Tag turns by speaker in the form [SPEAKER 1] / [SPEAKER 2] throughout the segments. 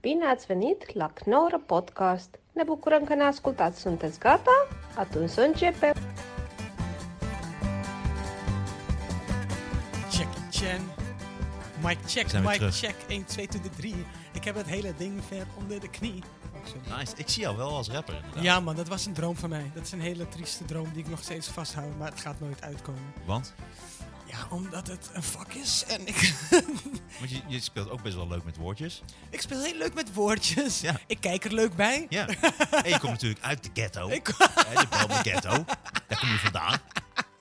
[SPEAKER 1] Bine ați venit la Knorr Podcast! Ne bucurăm că ne ascultați! Sunteți gata? Atunci să începem!
[SPEAKER 2] Check, Chen. Mic check,
[SPEAKER 3] Zijn we
[SPEAKER 2] mic
[SPEAKER 3] terug.
[SPEAKER 2] check. 1, 2, 2, 3. Ik heb het hele ding ver onder de knie. Ook zo.
[SPEAKER 3] Nice. Ik zie jou wel als rapper inderdaad.
[SPEAKER 2] Oh, Ja man, dat was een droom van mij. Dat is een hele trieste droom die ik nog steeds vasthoud, maar het gaat nooit uitkomen.
[SPEAKER 3] Want,
[SPEAKER 2] Ja, omdat het een vak is en ik,
[SPEAKER 3] want je, je speelt ook best wel leuk met woordjes.
[SPEAKER 2] ik speel heel leuk met woordjes.
[SPEAKER 3] Ja.
[SPEAKER 2] Ik kijk er leuk bij.
[SPEAKER 3] Ja. en je komt natuurlijk uit de ghetto.
[SPEAKER 2] Ik,
[SPEAKER 3] Hè, de Belmer ghetto. Daar kom je vandaan.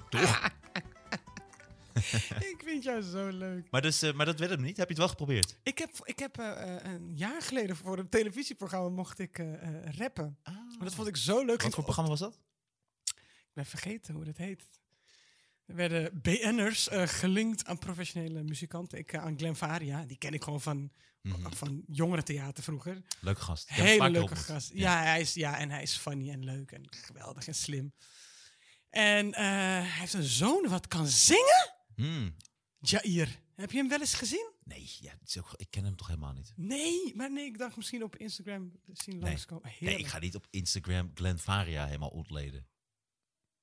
[SPEAKER 3] Toch?
[SPEAKER 2] ik vind jou zo leuk.
[SPEAKER 3] Maar, dus, eh, maar dat werd hem niet. Heb je het wel geprobeerd?
[SPEAKER 2] Ik heb, ik heb eh, eh, een jaar geleden voor een televisieprogramma mocht ik eh, eh, rappen. Maar dat vond ik zo leuk.
[SPEAKER 3] Wat voor programma was dat?
[SPEAKER 2] Ik ben vergeten hoe dat heet. Er werden BN'ers eh, gelinkt aan professionele muzikanten. Ik, eh, aan Glenn Faria, die ken ik gewoon van, van jongerentheater vroeger.
[SPEAKER 3] Mhm. Leuke gast. Ik heb hem een
[SPEAKER 2] Hele
[SPEAKER 3] paar keer
[SPEAKER 2] leuke
[SPEAKER 3] ontmoet.
[SPEAKER 2] gast. Ja. hij is, ja, en hij is funny en leuk en geweldig en slim. En eh, hij heeft een zoon wat kan zingen.
[SPEAKER 3] Hmm.
[SPEAKER 2] Jair, heb je hem wel eens gezien?
[SPEAKER 3] Nee, ja, het is ook, ik ken hem toch helemaal niet.
[SPEAKER 2] Nee, maar nee, ik dacht misschien op Instagram zien langskomen.
[SPEAKER 3] Nee,
[SPEAKER 2] Heerlijk.
[SPEAKER 3] ik ga niet op Instagram Glenn Faria helemaal ontleden.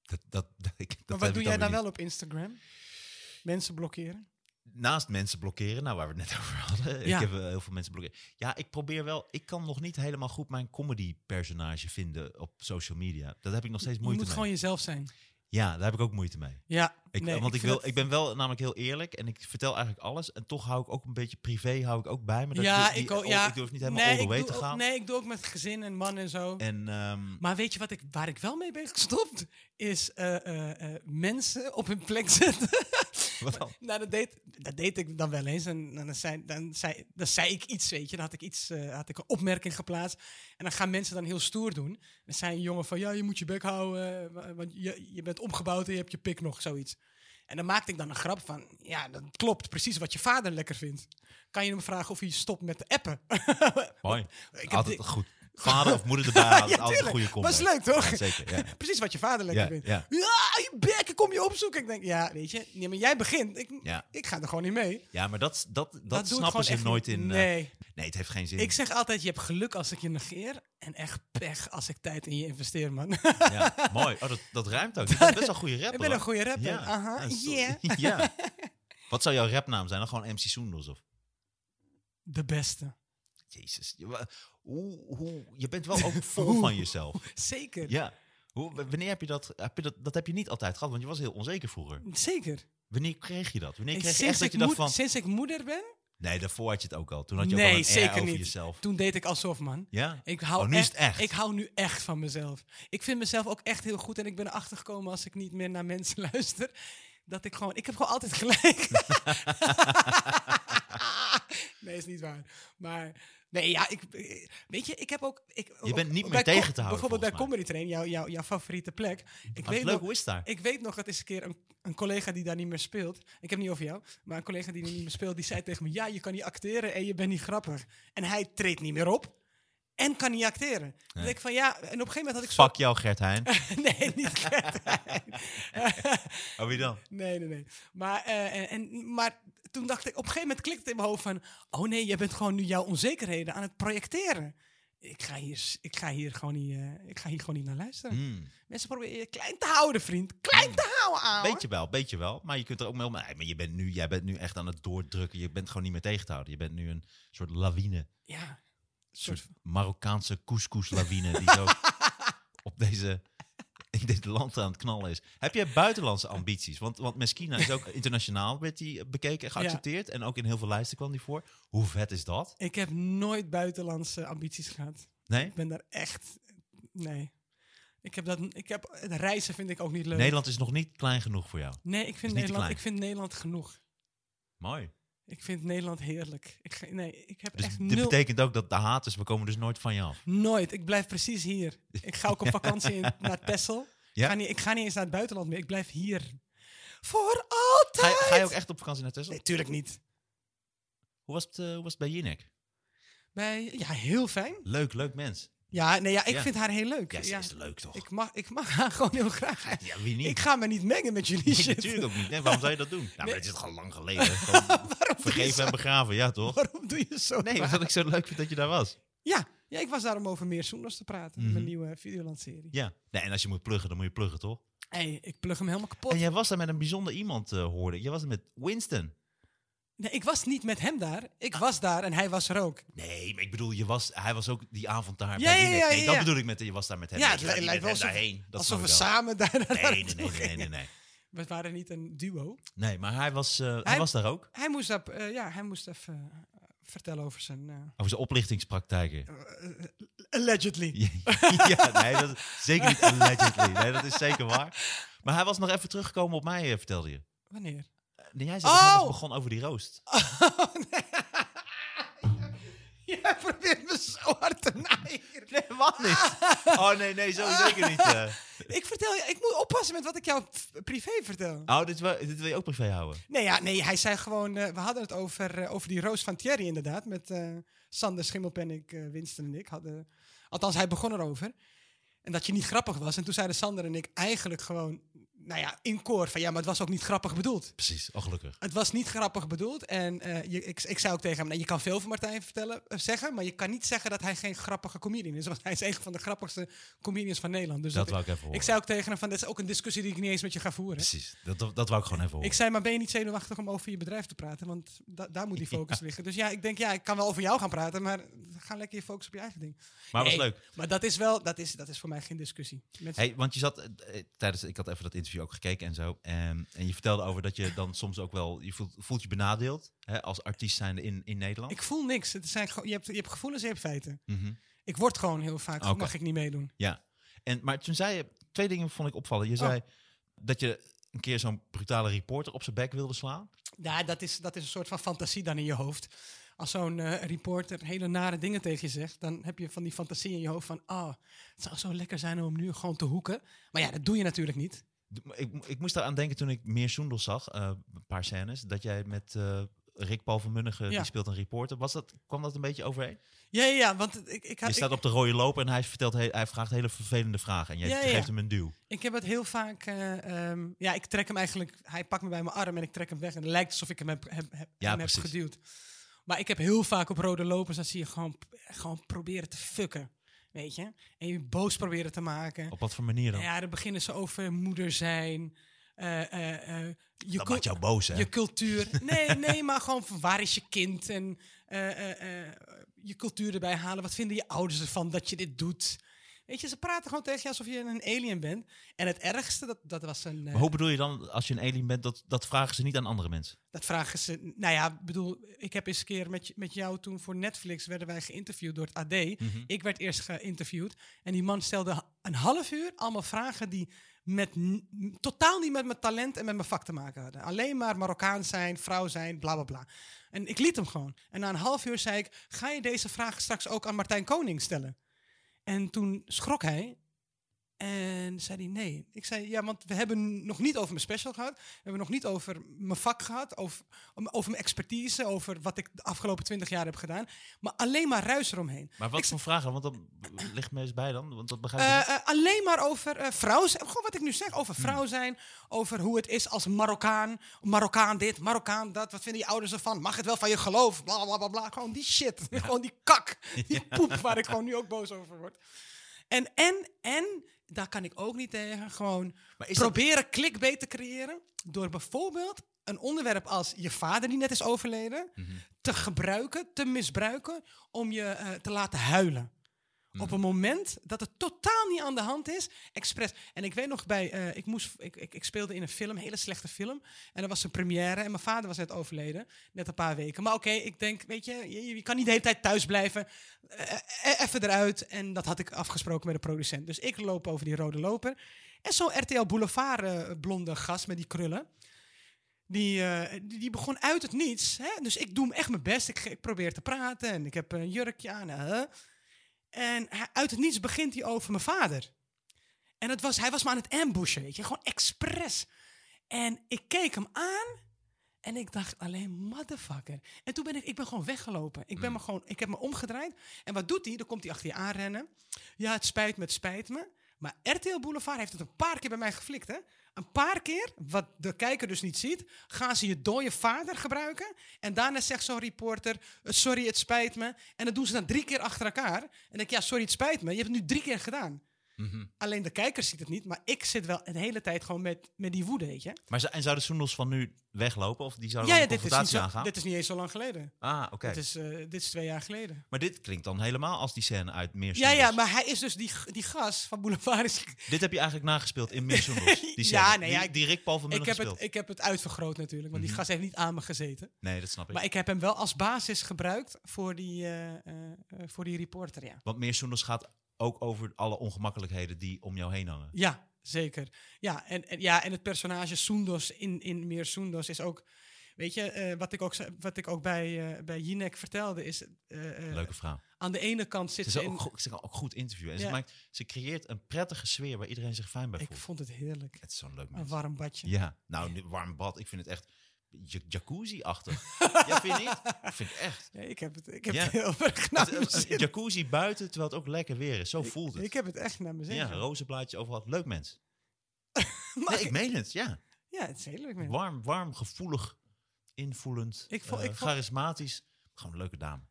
[SPEAKER 3] Dat, dat, dat, ik-
[SPEAKER 2] maar
[SPEAKER 3] dat heb
[SPEAKER 2] wat doe
[SPEAKER 3] ik
[SPEAKER 2] jij nou
[SPEAKER 3] weer
[SPEAKER 2] dan
[SPEAKER 3] niet.
[SPEAKER 2] wel op Instagram? Mensen blokkeren?
[SPEAKER 3] Naast mensen blokkeren, nou waar we het net over hadden.
[SPEAKER 2] Ja.
[SPEAKER 3] Ik heb eh, heel veel mensen blokkeren. Ja, ik probeer wel. Ik kan nog niet helemaal goed mijn comedy-personage vinden op social media. Dat heb ik nog steeds
[SPEAKER 2] Je moet
[SPEAKER 3] moeite mee.
[SPEAKER 2] gewoon jezelf zijn.
[SPEAKER 3] Ja, daar heb ik ook moeite mee.
[SPEAKER 2] Ja,
[SPEAKER 3] Ik,
[SPEAKER 2] nee,
[SPEAKER 3] want ik,
[SPEAKER 2] vind
[SPEAKER 3] wil,
[SPEAKER 2] dat-
[SPEAKER 3] ik ben wel namelijk heel eerlijk en ik vertel eigenlijk alles. En toch hou ik ook een beetje privé hou ik ook bij me. Dat
[SPEAKER 2] ja,
[SPEAKER 3] ik, die-
[SPEAKER 2] ik, ook-
[SPEAKER 3] oh,
[SPEAKER 2] ja,
[SPEAKER 3] ik durf niet helemaal all the
[SPEAKER 2] ik
[SPEAKER 3] way
[SPEAKER 2] doe
[SPEAKER 3] te
[SPEAKER 2] ook-
[SPEAKER 3] gaan.
[SPEAKER 2] nee, ik doe ook met gezin en man en zo.
[SPEAKER 3] En ehm,
[SPEAKER 2] maar weet je wat ik, waar ik wel mee ben gestopt? Is eh, eh, eh, mensen op hun plek zetten.
[SPEAKER 3] wat dan?
[SPEAKER 2] nou, dat deed, dat deed ik dan wel eens. En, dan, zei, dan, zei, dan zei ik iets, weet je. Dan had ik, iets, eh, had ik een opmerking geplaatst. En dan gaan mensen dan heel stoer doen. Dan zei een jongen van, ja, je moet je bek houden. eh, wa- Want je, je bent omgebouwd en je hebt je pik nog, zoiets. En dan maakte ik dan een grap van, ja, dat klopt. Precies wat je vader lekker vindt. Kan je hem vragen of hij stopt met de appen?
[SPEAKER 3] Mooi.
[SPEAKER 2] heb
[SPEAKER 3] altijd
[SPEAKER 2] di-
[SPEAKER 3] goed. Vader of moeder erbij, altijd, altijd een
[SPEAKER 2] tuurlijk.
[SPEAKER 3] goede combo.
[SPEAKER 2] Was leuk, toch?
[SPEAKER 3] Ja, zeker, ja.
[SPEAKER 2] Precies wat je vader lekker
[SPEAKER 3] Ja,
[SPEAKER 2] vindt. Ja.
[SPEAKER 3] ja.
[SPEAKER 2] je bek, ik kom je opzoeken. Ik denk, ja, weet je, nee, maar jij begint. Ik,
[SPEAKER 3] Ja.
[SPEAKER 2] ik ga er gewoon niet mee.
[SPEAKER 3] Ja, maar dat, dat, dat,
[SPEAKER 2] doe ik gewoon
[SPEAKER 3] snappen ze
[SPEAKER 2] echt
[SPEAKER 3] nooit
[SPEAKER 2] niet.
[SPEAKER 3] in... eh,
[SPEAKER 2] Nee.
[SPEAKER 3] nee, het heeft geen zin.
[SPEAKER 2] Ik zeg altijd, je hebt geluk als ik je negeer. En echt pech als ik tijd in je investeer, man.
[SPEAKER 3] Ja, mooi. Oh, dat, dat ruimt ook. Je bent best wel een goede rapper.
[SPEAKER 2] ik ben
[SPEAKER 3] hoor.
[SPEAKER 2] een goede rapper.
[SPEAKER 3] Ja.
[SPEAKER 2] Aha,
[SPEAKER 3] Ja, zo-
[SPEAKER 2] yeah.
[SPEAKER 3] ja. Wat zou jouw rapnaam zijn? Dan gewoon MC Soendels of...
[SPEAKER 2] De beste.
[SPEAKER 3] Jezus. Je, wa- hoe, hoe, je bent wel ook vol van jezelf.
[SPEAKER 2] Zeker.
[SPEAKER 3] Ja. Hoe, w- wanneer heb je dat, heb je dat... Dat heb je niet altijd gehad, want je was heel onzeker vroeger.
[SPEAKER 2] Zeker.
[SPEAKER 3] Wanneer kreeg je dat? Wanneer
[SPEAKER 2] En
[SPEAKER 3] kreeg je echt
[SPEAKER 2] sinds,
[SPEAKER 3] dat
[SPEAKER 2] ik
[SPEAKER 3] je dacht
[SPEAKER 2] moed-
[SPEAKER 3] van...
[SPEAKER 2] sinds ik moeder ben,
[SPEAKER 3] Nee, daarvoor had je het ook al. Toen had je ook
[SPEAKER 2] Nee,
[SPEAKER 3] al een
[SPEAKER 2] zeker
[SPEAKER 3] air over
[SPEAKER 2] niet.
[SPEAKER 3] jezelf.
[SPEAKER 2] toen deed ik alsof, man.
[SPEAKER 3] Ja?
[SPEAKER 2] Ik hou,
[SPEAKER 3] Oh, nu is het echt.
[SPEAKER 2] ik hou nu echt van mezelf. Ik vind mezelf ook echt heel goed. En ik ben erachter gekomen als ik niet meer naar mensen luister. Dat ik gewoon... Ik heb gewoon altijd gelijk. nee, is niet waar. Maar... Nee, ja, ik... Weet je, ik heb ook... Ik,
[SPEAKER 3] Je bent niet
[SPEAKER 2] bij
[SPEAKER 3] meer
[SPEAKER 2] co-
[SPEAKER 3] tegen te houden,
[SPEAKER 2] Bijvoorbeeld bij
[SPEAKER 3] volgens mij.
[SPEAKER 2] Comedy Train, jouw, jouw, jouw favoriete plek. Ik
[SPEAKER 3] Wat
[SPEAKER 2] weet,
[SPEAKER 3] leuk,
[SPEAKER 2] nog,
[SPEAKER 3] hoe is het daar?
[SPEAKER 2] ik weet nog, dat is een keer een, een collega die daar niet meer speelt. Ik heb het niet over jou, maar een collega die er niet meer speelt, die zei tegen me: Ja, je kan niet acteren en je bent niet grappig. En hij treedt niet meer op en kan niet acteren. Dan
[SPEAKER 3] Nee.
[SPEAKER 2] denk ik van ja, en op een gegeven moment had ik zo.
[SPEAKER 3] Fuck jou, Gert Heijn.
[SPEAKER 2] nee, niet Gert.
[SPEAKER 3] Oh, wie dan?
[SPEAKER 2] nee, nee, nee. Maar, eh, en, en- maar toen dacht ik, op een gegeven moment klikte het in mijn hoofd van: Oh nee, je bent gewoon nu jouw onzekerheden aan het projecteren. Ik ga hier, s- ik ga hier, gewoon, niet, eh, ik ga hier gewoon niet naar luisteren.
[SPEAKER 3] Hmm.
[SPEAKER 2] Mensen proberen je klein te houden, vriend. Klein te houden, aan.
[SPEAKER 3] Beetje wel, beetje wel. Maar je kunt er ook mee om. Nee, maar je bent nu, jij bent nu echt aan het doordrukken. Je bent gewoon niet meer tegen te houden. Je bent nu een soort lawine. Een
[SPEAKER 2] Ja. Een soort
[SPEAKER 3] soort Marokkaanse couscous-lawine. die zo op deze, in dit land aan het knallen is. Heb jij buitenlandse ambities? Want, want Meskina is ook internationaal werd die bekeken en geaccepteerd. En ook in heel veel lijsten kwam die voor. Hoe vet is dat?
[SPEAKER 2] Ik heb nooit buitenlandse ambities gehad.
[SPEAKER 3] Nee?
[SPEAKER 2] Ik ben daar echt. Nee. Ik heb dat. Ik heb, het reizen vind ik ook niet leuk.
[SPEAKER 3] Nederland is nog niet klein genoeg voor jou.
[SPEAKER 2] nee, ik vind
[SPEAKER 3] niet te
[SPEAKER 2] Nederland,
[SPEAKER 3] klein.
[SPEAKER 2] ik vind Nederland genoeg.
[SPEAKER 3] Mooi.
[SPEAKER 2] Ik vind Nederland heerlijk. Ik, ge- nee, ik heb
[SPEAKER 3] Dus
[SPEAKER 2] echt
[SPEAKER 3] dit
[SPEAKER 2] nul,
[SPEAKER 3] betekent ook dat de haters, we komen dus nooit van je af.
[SPEAKER 2] nooit. Ik blijf precies hier. Ik ga ook op vakantie in- naar Texel.
[SPEAKER 3] Ja?
[SPEAKER 2] Ik, ga niet, ik ga niet eens naar het buitenland meer. Ik blijf hier. Voor altijd.
[SPEAKER 3] Ga je, ga je ook echt op vakantie naar Texel?
[SPEAKER 2] Nee, tuurlijk niet.
[SPEAKER 3] Hoe was het, eh, hoe was het bij Jinek?
[SPEAKER 2] Bij, ja, heel fijn.
[SPEAKER 3] Leuk, leuk mens.
[SPEAKER 2] Ja, nee, ja, ik
[SPEAKER 3] Ja.
[SPEAKER 2] vind haar heel leuk.
[SPEAKER 3] Ja, ze
[SPEAKER 2] Ja.
[SPEAKER 3] is leuk toch?
[SPEAKER 2] Ik mag, ik mag haar gewoon heel graag.
[SPEAKER 3] ja, wie niet?
[SPEAKER 2] Ik ga me niet mengen met jullie
[SPEAKER 3] Nee,
[SPEAKER 2] shit.
[SPEAKER 3] natuurlijk ook niet. Nee, waarom zou je dat doen? Nou,
[SPEAKER 2] Nee.
[SPEAKER 3] maar het is al lang geleden. Gewoon
[SPEAKER 2] Waarom doe, je
[SPEAKER 3] vergeven
[SPEAKER 2] zo,
[SPEAKER 3] en begraven, ja toch?
[SPEAKER 2] waarom doe je zo?
[SPEAKER 3] Nee,
[SPEAKER 2] vaak?
[SPEAKER 3] omdat ik zo leuk vind dat je daar was.
[SPEAKER 2] ja, ja, ik was daar om over meer zoenders te praten.
[SPEAKER 3] Mhm.
[SPEAKER 2] Mijn nieuwe Videoland-serie.
[SPEAKER 3] Ja. Nee, en als je moet pluggen, dan moet je pluggen, toch?
[SPEAKER 2] hey, ik plug hem helemaal kapot.
[SPEAKER 3] En jij was daar met een bijzonder iemand, eh, hoorde ik. Jij was er met Winston.
[SPEAKER 2] Nee, ik was niet met hem daar. Ik
[SPEAKER 3] Ah.
[SPEAKER 2] was daar en hij was er ook.
[SPEAKER 3] Nee, maar ik bedoel, je was, hij was ook die avond daar.
[SPEAKER 2] Ja,
[SPEAKER 3] bij
[SPEAKER 2] ja,
[SPEAKER 3] die net.
[SPEAKER 2] ja,
[SPEAKER 3] Nee,
[SPEAKER 2] ja,
[SPEAKER 3] dat
[SPEAKER 2] ja.
[SPEAKER 3] bedoel ik met je was daar met hem.
[SPEAKER 2] Ja,
[SPEAKER 3] Je
[SPEAKER 2] het
[SPEAKER 3] gaat niet
[SPEAKER 2] lijkt
[SPEAKER 3] met
[SPEAKER 2] wel
[SPEAKER 3] hem daarheen. Dat
[SPEAKER 2] Alsof
[SPEAKER 3] snap
[SPEAKER 2] we
[SPEAKER 3] ik wel.
[SPEAKER 2] samen daar naartoe
[SPEAKER 3] Nee, nee, nee, nee, nee, nee,
[SPEAKER 2] gingen.
[SPEAKER 3] nee.
[SPEAKER 2] We waren niet een duo.
[SPEAKER 3] Nee, maar hij was, eh, hij
[SPEAKER 2] Hij-
[SPEAKER 3] was daar ook.
[SPEAKER 2] Hij moest, dat, eh, ja, hij moest even eh, vertellen over zijn... eh,
[SPEAKER 3] Over zijn oplichtingspraktijken.
[SPEAKER 2] eh, allegedly.
[SPEAKER 3] Ja, ja, nee, dat is zeker niet allegedly. Nee, dat is zeker waar. Maar hij was nog even teruggekomen op mij, eh, vertelde je.
[SPEAKER 2] Wanneer?
[SPEAKER 3] Nee, jij zei dat
[SPEAKER 2] Oh!
[SPEAKER 3] hij nog begon over die roost.
[SPEAKER 2] Jij probeert me zo hard te naaien.
[SPEAKER 3] Nee, wat niet. Oh, nee, nee, zo zeker niet. eh.
[SPEAKER 2] Ik vertel je, ik moet oppassen met wat ik jou f- privé vertel.
[SPEAKER 3] Oh, dit wil, dit wil je ook privé houden?
[SPEAKER 2] Nee, ja, nee, hij zei gewoon, eh, we hadden het over, eh, over die roos van Thierry inderdaad. Met eh, Sander Schimmelpennik, eh Winston en ik hadden... Althans, hij begon erover. En dat je niet grappig was. En toen zeiden Sander en ik eigenlijk gewoon, nou ja, in koor van ja, maar het was ook niet grappig bedoeld.
[SPEAKER 3] Precies, oh gelukkig.
[SPEAKER 2] Het was niet grappig bedoeld. En eh, je, ik, ik zei ook tegen hem, nou, je kan veel van Martijn vertellen, eh, zeggen, maar je kan niet zeggen dat hij geen grappige comedian is. Want hij is een van de grappigste comedians van Nederland. Dus
[SPEAKER 3] Dat
[SPEAKER 2] dat
[SPEAKER 3] wou ik even horen.
[SPEAKER 2] ik zei ook tegen hem van, dit is ook een discussie die ik niet eens met je ga voeren.
[SPEAKER 3] Precies, dat, dat, dat wou ik gewoon even horen.
[SPEAKER 2] Ik zei, maar ben je niet zenuwachtig om over je bedrijf te praten? Want da- daar moet die focus liggen. Dus ja, ik denk, ja, ik kan wel over jou gaan praten, maar ga lekker je focus op je eigen ding.
[SPEAKER 3] maar het was
[SPEAKER 2] Nee,
[SPEAKER 3] leuk.
[SPEAKER 2] Maar dat is wel, dat is, dat is voor mij geen discussie. Mensen-
[SPEAKER 3] Hey, want je zat eh, eh, tijdens, ik had even dat interview ook gekeken en zo. En, en je vertelde over dat je dan soms ook wel, je voelt, voelt je benadeeld hè, als artiest zijnde in, in Nederland.
[SPEAKER 2] Ik voel niks. Het zijn, gewoon- je, hebt, je hebt gevoelens, je hebt feiten.
[SPEAKER 3] Mhm.
[SPEAKER 2] Ik word gewoon heel vaak,
[SPEAKER 3] Oké.
[SPEAKER 2] mag ik niet meedoen.
[SPEAKER 3] Ja. En, maar toen zei je, twee dingen vond ik opvallen.
[SPEAKER 2] Oh.
[SPEAKER 3] Je zei dat je een keer zo'n brutale reporter op zijn bek wilde slaan.
[SPEAKER 2] Ja, dat is, dat is een soort van fantasie dan in je hoofd. Als zo'n eh, reporter hele nare dingen tegen je zegt, dan heb je van die fantasie in je hoofd van, ah, het zou zo lekker zijn om hem nu gewoon te hoeken. Maar ja, dat doe je natuurlijk niet.
[SPEAKER 3] D- maar Ik, ik moest daaraan denken toen ik meer Soendel zag, eh, een paar scènes, dat jij met eh, Rick Paul van Munnigen,
[SPEAKER 2] Ja.
[SPEAKER 3] die speelt een reporter, was dat, kwam dat een beetje overeen?
[SPEAKER 2] Ja, ja, ja, want ik, ik,
[SPEAKER 3] Je
[SPEAKER 2] had, ik,
[SPEAKER 3] staat op de rode loper en hij, vertelt, he- hij vraagt hele vervelende vragen en jij
[SPEAKER 2] Ja, ja,
[SPEAKER 3] geeft
[SPEAKER 2] ja.
[SPEAKER 3] hem een duw.
[SPEAKER 2] Ik heb het heel vaak. eh, ehm, ja, ik trek hem eigenlijk. Hij pakt me bij mijn arm en ik trek hem weg. En het lijkt alsof ik hem heb, heb, heb,
[SPEAKER 3] Ja,
[SPEAKER 2] hem heb
[SPEAKER 3] precies.
[SPEAKER 2] geduwd. Maar ik heb heel vaak op rode lopers. Dan zie je gewoon, gewoon proberen te fucken. Weet je? En je boos proberen te maken.
[SPEAKER 3] Op wat voor manier dan?
[SPEAKER 2] Ja, dan beginnen ze over moeder zijn. eh, eh, eh, je
[SPEAKER 3] dat
[SPEAKER 2] cul-
[SPEAKER 3] maakt jou boos, hè?
[SPEAKER 2] je cultuur. Nee, nee, maar gewoon van waar is je kind? En eh, eh, eh, je cultuur erbij halen. Wat vinden je ouders ervan dat je dit doet? Weet je, ze praten gewoon tegen je alsof je een alien bent. En het ergste, dat, dat was een... eh,
[SPEAKER 3] Maar hoe bedoel je dan, als je een alien bent, dat, dat vragen ze niet aan andere mensen?
[SPEAKER 2] Dat vragen ze... Nou ja, ik bedoel, ik heb eens een keer met, je- met jou toen voor Netflix... werden wij geïnterviewd door het AD. Ik werd eerst geïnterviewd. En die man stelde ha- een half uur allemaal vragen die... Met, n- n- totaal niet met mijn talent en met mijn vak te maken hadden. Alleen maar Marokkaans zijn, vrouw zijn, bla bla bla. En ik liet hem gewoon. En na een half uur zei ik: Ga je deze vraag straks ook aan Martijn Koning stellen? En toen schrok hij. En zei hij nee. Ik zei ja, want we hebben nog niet over mijn special gehad. We hebben nog niet over mijn vak gehad. Over, om- over mijn expertise. Over wat ik de afgelopen twintig jaar heb gedaan. Maar alleen maar ruis eromheen.
[SPEAKER 3] Maar wat
[SPEAKER 2] Ik-
[SPEAKER 3] voor vragen? Want dat b- ligt me eens bij dan, want dat begrijp ik niet.
[SPEAKER 2] Eh, eh, alleen maar over eh, vrouw zijn. Gewoon wat ik nu zeg.
[SPEAKER 3] Hmm.
[SPEAKER 2] Over vrouw zijn. Over hoe het is als Marokkaan. Marokkaan dit, Marokkaan dat. Wat vinden je ouders ervan? Mag het wel van je geloof? Bla bla bla bla. Gewoon die shit. gewoon die kak. Die poep waar ik gewoon nu ook boos over word. En, en, en, daar kan ik ook niet tegen. Gewoon
[SPEAKER 3] Maar is dat-
[SPEAKER 2] proberen clickbait te creëren. Door bijvoorbeeld een onderwerp als je vader die net is overleden.
[SPEAKER 3] Mhm.
[SPEAKER 2] te gebruiken, te misbruiken. om je eh, te laten huilen. Op een moment dat het totaal niet aan de hand is, expres. En ik weet nog bij, eh, ik, moest, ik, ik, ik speelde in een film, een hele slechte film. En er was een première en mijn vader was net overleden, net een paar weken. Maar oké, ik denk, weet je, je, je kan niet de hele tijd thuis blijven. Eh, eh, even eruit. En dat had ik afgesproken met de producent. Dus ik loop over die rode loper. En zo'n RTL Boulevard eh, blonde gast met die krullen. Die, eh, die, die begon uit het niets. Hè? Dus ik doe hem echt mijn best. Ik, ge- ik probeer te praten en ik heb een jurkje aan. hè. En hij- uit het niets begint hij over mijn vader. En het was, hij was me aan het ambushen, weet je. Gewoon expres. En ik keek hem aan En ik dacht alleen, motherfucker. En toen ben ik, ik ben gewoon weggelopen. Ik, ben me gewoon, ik heb me omgedraaid. En wat doet hij? Dan komt hij achter je aanrennen. Ja, het spijt me, het spijt me. Maar RTL Boulevard heeft het een paar keer bij mij geflikt, hè? Een paar keer, wat de kijker dus niet ziet, gaan ze je dode vader gebruiken. En daarna zegt zo'n reporter, eh, sorry, het spijt me. En dat doen ze dan drie keer achter elkaar. En dan denk ik, ja, sorry, het spijt me. Je hebt het nu drie keer gedaan.
[SPEAKER 3] Mhm.
[SPEAKER 2] Alleen de kijker ziet het niet, maar ik zit wel de hele tijd gewoon met, met die woede, weet je.
[SPEAKER 3] Maar z- en zouden Soendels van nu weglopen? Of die zouden
[SPEAKER 2] Ja, ja
[SPEAKER 3] een
[SPEAKER 2] dit, is niet
[SPEAKER 3] confrontatie
[SPEAKER 2] zo,
[SPEAKER 3] aangaan?
[SPEAKER 2] dit is niet eens zo lang geleden.
[SPEAKER 3] Ah, oké.
[SPEAKER 2] Dit, is, eh, dit is twee jaar geleden.
[SPEAKER 3] Maar dit klinkt dan helemaal als die scène uit Meer
[SPEAKER 2] Ja, ja,
[SPEAKER 3] Soendels.
[SPEAKER 2] maar hij is dus die, die gas van Boulevard. is-
[SPEAKER 3] Dit heb je eigenlijk nagespeeld in Meer Soendels, die scène.
[SPEAKER 2] Ja, nee, ja,
[SPEAKER 3] die,
[SPEAKER 2] ik-
[SPEAKER 3] die Rick Paul van
[SPEAKER 2] ik,
[SPEAKER 3] Mullen
[SPEAKER 2] heb
[SPEAKER 3] gespeeld.
[SPEAKER 2] het, ik heb het uitvergroot natuurlijk, want die
[SPEAKER 3] Mhm.
[SPEAKER 2] gas heeft niet aan me gezeten.
[SPEAKER 3] Nee, dat snap ik.
[SPEAKER 2] Maar ik heb hem wel als basis gebruikt voor die, eh, eh, eh, voor die reporter, ja.
[SPEAKER 3] Want Meer Soendels gaat ook over alle ongemakkelijkheden die om jou heen hangen.
[SPEAKER 2] Ja, zeker. Ja, en, en, ja, en het personage Soendos in, in Meer Soendos is ook... Weet je, eh, wat ik ook, ze- wat ik ook bij, eh bij Jinek vertelde is... eh, eh,
[SPEAKER 3] Leuke vrouw.
[SPEAKER 2] Aan de ene kant zit
[SPEAKER 3] Ze, is
[SPEAKER 2] ze
[SPEAKER 3] ook,
[SPEAKER 2] in...
[SPEAKER 3] go- ze kan ook goed interviewen. En
[SPEAKER 2] Ja.
[SPEAKER 3] ze, maakt, ze creëert een prettige sfeer waar iedereen zich fijn bij
[SPEAKER 2] Ik Oh,
[SPEAKER 3] voelt.
[SPEAKER 2] vond het heerlijk.
[SPEAKER 3] Het is zo'n leuk
[SPEAKER 2] Een
[SPEAKER 3] mens.
[SPEAKER 2] warm badje.
[SPEAKER 3] Ja, nou, nu- warm bad. Ik vind het echt ja- jacuzzi-achtig. ja, vind je niet? Ik vind het echt.
[SPEAKER 2] Ja, ik heb het, ik heb
[SPEAKER 3] Ja.
[SPEAKER 2] het heel erg naar
[SPEAKER 3] Het-
[SPEAKER 2] mijn
[SPEAKER 3] het- het
[SPEAKER 2] zin.
[SPEAKER 3] jacuzzi buiten, terwijl het ook lekker weer is. Zo voelt het.
[SPEAKER 2] Nou, Ik heb het echt naar mijn zin.
[SPEAKER 3] ja,
[SPEAKER 2] Ja,
[SPEAKER 3] rozenblaadjes overal. Leuk mens.
[SPEAKER 2] Maar
[SPEAKER 3] Nee, ik meen het, ja.
[SPEAKER 2] ja het is heel leuk. man.
[SPEAKER 3] Warm, warm, gevoelig, invoelend,
[SPEAKER 2] Ik vo-
[SPEAKER 3] eh,
[SPEAKER 2] ik vo-
[SPEAKER 3] charismatisch. Gewoon een leuke dame.